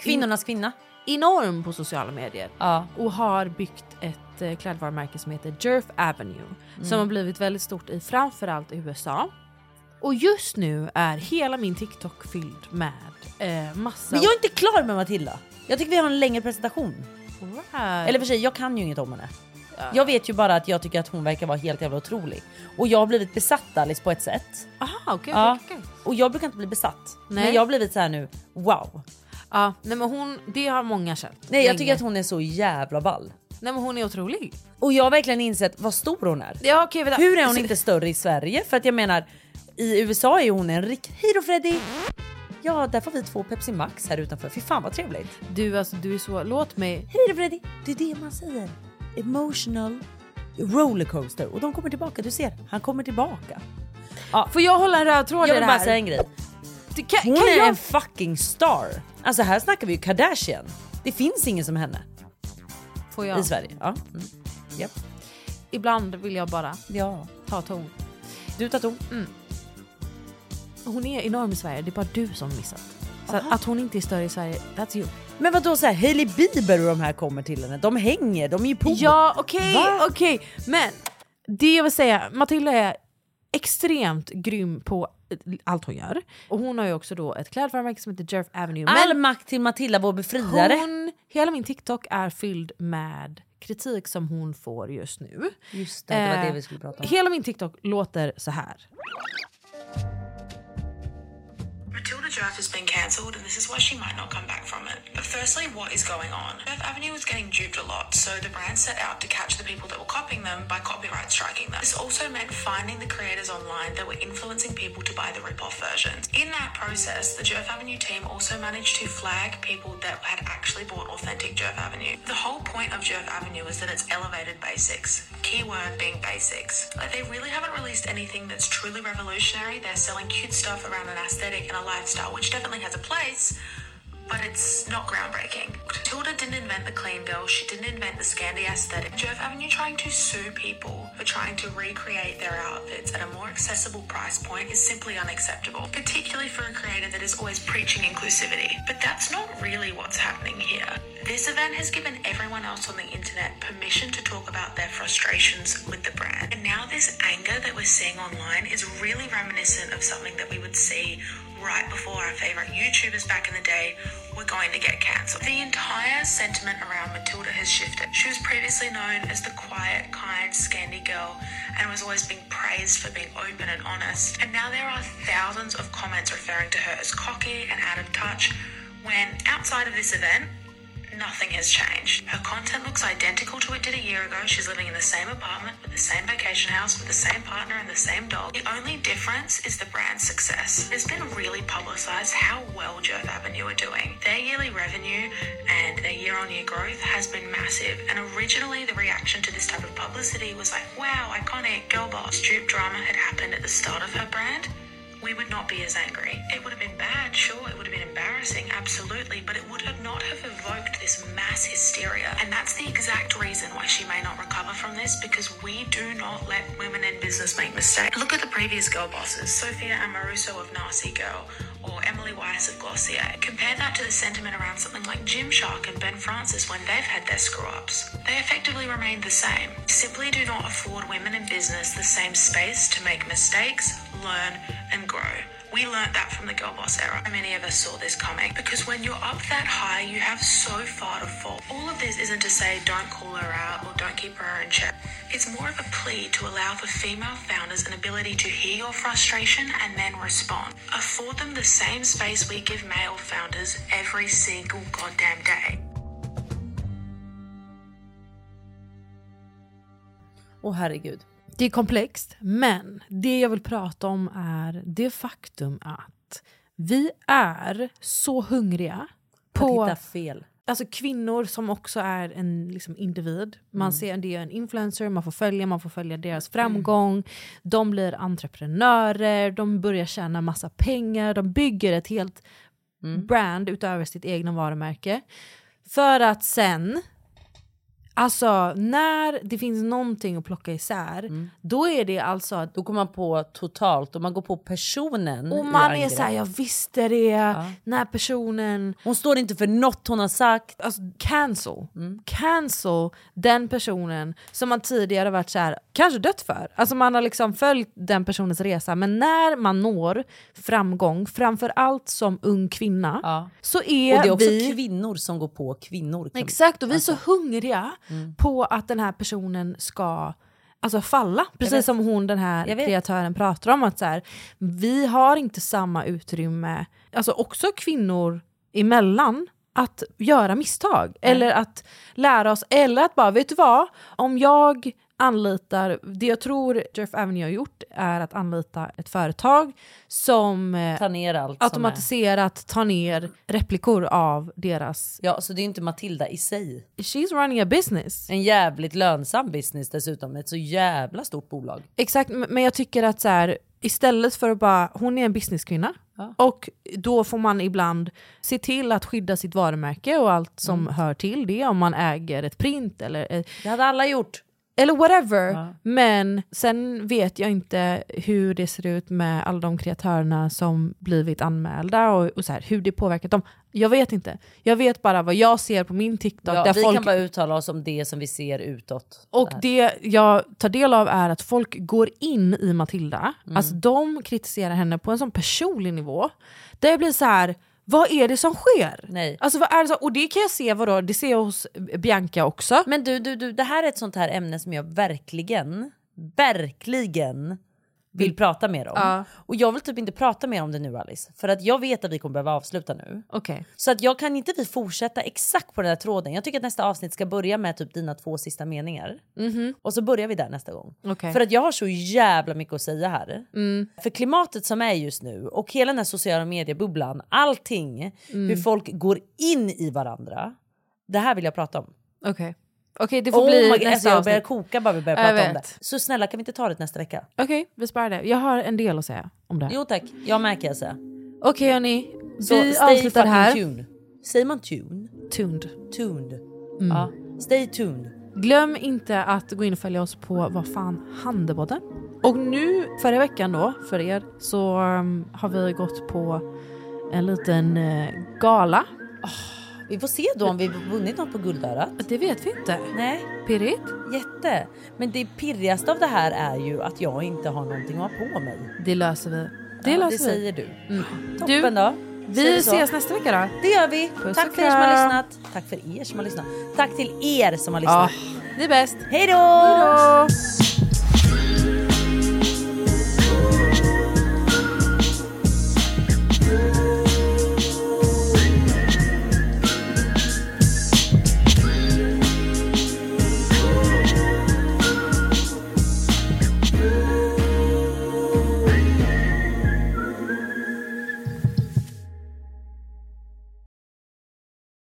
S1: Kvinnornas kvinna.
S3: Enorm på sociala medier. Och har byggt ett eh, klädvarumärke som heter Jerf Avenue. Som
S1: Mm.
S3: har blivit väldigt stort i framförallt USA. Och just nu är hela min TikTok fylld med eh, massa...
S1: Men jag är inte klar med Matilda. Jag tycker vi har en längre presentation.
S3: Right.
S1: Eller för sig, jag kan ju inget om henne. Jag vet ju bara att jag tycker att hon verkar vara helt jävla otrolig. Och jag har blivit besatt Alice på ett sätt.
S3: Aha, okej.
S1: Ja.
S3: okej, okej.
S1: Och jag brukar inte bli besatt.
S3: Nej.
S1: Men jag har blivit så här nu, wow.
S3: Ja, nej men hon, det har många känt.
S1: Nej jag
S3: länge.
S1: tycker att hon är så jävla ball.
S3: Nej men hon är otrolig.
S1: Och jag har verkligen insett vad stor hon är.
S3: Ja, okej, vänta.
S1: Hur är hon inte större i Sverige? För att jag menar, i USA är hon en rik... Hej då Freddy! Ja, där får vi två Pepsi Max här utanför. Fy fan vad trevligt.
S3: Du alltså, du är så, låt mig...
S1: Hej då Freddy! Det är det man säger. Emotional rollercoaster. Och de kommer tillbaka, du ser. Han kommer tillbaka.
S3: Får jag hålla en röd tråd
S1: Jag
S3: i
S1: vill
S3: det
S1: bara
S3: här?
S1: säga en grej.
S3: Du, kan,
S1: Hon
S3: kan
S1: är
S3: jag...
S1: en fucking star. Alltså här snackar vi ju Kardashian. Det finns ingen som henne
S3: Får jag?
S1: i Sverige. Ja. Mm. Japp.
S3: Ibland vill jag bara
S1: ja.
S3: ta ton.
S1: Du tar ton.
S3: Mm. Hon är enorm i Sverige, det är bara du som missat. Så
S1: Aha. Oh.
S3: att, att hon inte är större i Sverige, that's you.
S1: Men vadå så här, Hailey Bieber och de här kommer till henne. De hänger, de är ju på.
S3: Ja okej,
S1: Va?
S3: okej. Men det jag vill säga, Matilda är extremt grym på eh, allt hon gör. Och hon har ju också då ett klädvarumärke som heter Jerf Avenue.
S1: All makt till Matilda vår befriare.
S3: Hon, hela min TikTok är fylld med kritik som hon får just nu. Eh,
S1: Just det, det var det vi skulle prata om.
S3: Hela min TikTok låter så här.
S12: Matilda Drive has been cancelled, and this is why she might not come back from it. But firstly, what is going on? Fifth Avenue was getting duped a lot, so the brand set out to catch the people that were copying them by copyright striking them. This also meant finding the creators online that were influencing people to buy the rip-off versions. In that process, the Jerf Avenue team also managed to flag people that had actually bought authentic Jerf Avenue. The whole point of Jerf Avenue is that it's elevated basics. Keyword being basics. Like they really haven't released anything that's truly revolutionary. They're selling cute stuff around an aesthetic and a lifestyle, which definitely has a place, but it's not groundbreaking. Tilda didn't invent the clean bill, she didn't invent the Scandi aesthetic. Jerv Avenue trying to sue people for trying to recreate their outfits at a more accessible price point is simply unacceptable, particularly for a creator that is always preaching inclusivity. But that's not really what's happening here. This event has given everyone else on the internet permission to talk about their frustrations with the brand. And now, this anger that we're seeing online is really reminiscent of something that we would see right before our favorite YouTubers back in the day were going to get cancelled. The entire sentiment around Matilda has shifted. She was previously known as the quiet, kind, Scandi girl and was always being praised for being open and honest. And now there are thousands of comments referring to her as cocky and out of touch when outside of this event, Nothing has changed. Her content looks identical to what it did a year ago. She's living in the same apartment, with the same vacation house, with the same partner and the same dog. The only difference is the brand's success. It's been really publicized how well Jerv Avenue are doing. Their yearly revenue and their year on year growth has been massive. And originally, the reaction to this type of publicity was like, wow, iconic, girl boss. Dupe drama had happened at the start of her brand. we would not be as angry. It would have been bad, sure, it would have been embarrassing, absolutely, but it would have not have evoked this mass hysteria. And that's the exact reason why she may not recover from this because we do not let women in business make mistakes. Look at the previous girl bosses, Sophia Amoruso of Nasty Girl or Emily Weiss of Glossier. Compare that to the sentiment around something like Gymshark and Ben Francis when they've had their screw ups. They effectively remained the same. Simply do not afford women in business the same space to make mistakes, learn, and grow. We learnt that from the girl boss era. So many of us saw this coming because when you're up that high, you have so far to fall. All of this isn't to say don't call her out or don't keep her in check. It's more of a plea to allow for female founders an ability to hear your frustration and then respond. Afford them the same space we give male founders every single goddamn day.
S1: Åh herregud.
S3: Det är komplext, men det jag vill prata om är det faktum att vi är så hungriga på...
S1: hitta fel.
S3: Alltså kvinnor som också är en liksom, individ. Man
S1: Mm.
S3: ser det är en influencer, man får följa, man får följa deras framgång. De blir entreprenörer, de börjar tjäna massa pengar, de bygger ett helt
S1: Mm.
S3: brand utöver sitt egna varumärke. För att sen Alltså när det finns någonting att plocka isär,
S1: Mm.
S3: då är det alltså... att-
S1: Då går man på totalt och man går på personen.
S3: Och
S1: i
S3: man är
S1: Mm. angrepp.
S3: såhär, jag visste det, den här personen...
S1: Hon står inte för något hon har sagt.
S3: Alltså cancel.
S1: Mm.
S3: Cancel den personen som man tidigare varit såhär, kanske dött för. Alltså man har liksom följt den personens resa. Men när man når framgång, framförallt som ung kvinna, så är,
S1: och det är också
S3: vi...
S1: kvinnor som Alltså. Mm. går på kvinnor. kan-
S3: Exakt, och vi är så hungriga på att den här personen ska alltså, falla. Precis
S1: vet.
S3: som hon den
S1: Jag
S3: här
S1: vet.
S3: kreatören pratar om. att så här, Vi har inte samma utrymme, alltså också kvinnor emellan, att göra misstag. Eller att lära oss, eller att bara, vet du vad? Om jag anlitar, det jag tror Jeff Avenue har gjort är att anlita ett företag som eh,
S1: Ta ner allt som är.
S3: automatiserat tar ner replikor av deras
S1: Ja, så det är inte Matilda i sig.
S3: She's running a business.
S1: En jävligt lönsam business dessutom. Ett så jävla stort bolag.
S3: Exakt, m- men jag tycker att så här, istället för att bara, hon är en businesskvinna och då får man ibland se till att skydda sitt varumärke och allt som
S1: Mm.
S3: hör till det om man äger ett print eller... eh,
S1: Det hade alla gjort.
S3: Eller whatever. Men sen vet jag inte hur det ser ut med alla de kreatörerna som blivit anmälda och, och så här, hur det påverkat dem. Jag vet inte. Jag vet bara vad jag ser på min TikTok.
S1: Ja,
S3: där
S1: vi
S3: folk
S1: kan bara uttala oss om det som vi ser utåt.
S3: Och
S1: Där.
S3: det jag tar del av är att folk går in i Matilda. Alltså de kritiserar henne på en sån personlig nivå. Där jag blir så här. Vad är det som sker?
S1: Nej.
S3: Alltså, vad är det som, och det kan jag se vadå, det ser jag hos Bianca också.
S1: Men du, du, du, det här är ett sånt här ämne som jag verkligen, verkligen vill prata mer om.
S3: Ja.
S1: Och jag vill typ inte prata mer om det nu Alice. För att jag vet att vi kommer behöva avsluta nu.
S3: Okej.
S1: Så att jag kan inte vi fortsätta exakt på den här tråden. Jag tycker att nästa avsnitt ska börja med typ dina två sista meningar.
S3: Mhm.
S1: Och så börjar vi där nästa gång.
S3: Okej.
S1: För att jag har så jävla mycket att säga här.
S3: Mm.
S1: För klimatet som är just nu och hela den här sociala mediebubblan, allting,
S3: Mm.
S1: hur folk går in i varandra. Det här vill jag prata om.
S3: Okej. Okej, det får bli
S1: my, God,
S3: nästa
S1: alltså, Jag
S3: avsnitt.
S1: börjar koka bara vi börjar
S3: Jag
S1: prata om det.
S3: vet.
S1: Så snälla kan vi inte ta det nästa vecka?
S3: Okej, vi sparar det. Jag har en del att säga om det här.
S1: Jo tack, jag märker alltså.
S3: Okej hörni,
S1: Så
S3: vi
S1: stay
S3: avslutar det
S1: fucking
S3: här.
S1: tuned. Säger man tune?
S3: Tuned.
S1: Tuned.
S3: Mm.
S1: Ja. Stay tuned.
S3: Glöm inte att gå in och följa oss på Vad fan Handelbodden. Och nu förra veckan då, för er, så um, har vi gått på en liten eh, gala.
S1: Vi får se då om vi vunnit något på Guldörat.
S3: Det vet vi inte.
S1: Nej.
S3: Pirrigt?
S1: Jätte. Men det pirrigaste av det här är ju att jag inte har någonting att ha på mig.
S3: Det löser vi. Det
S1: Ja,
S3: löser
S1: det
S3: vi.
S1: säger du.
S3: Mm.
S1: Toppen då. Säger
S3: Vi
S1: vi så?
S3: ses nästa vecka då.
S1: Det gör vi.
S3: Puss
S1: Tack
S3: och
S1: för er som har
S3: kram.
S1: lyssnat. Tack för er som har lyssnat. Tack till er som har lyssnat.
S3: Ni är bäst.
S1: Hej då!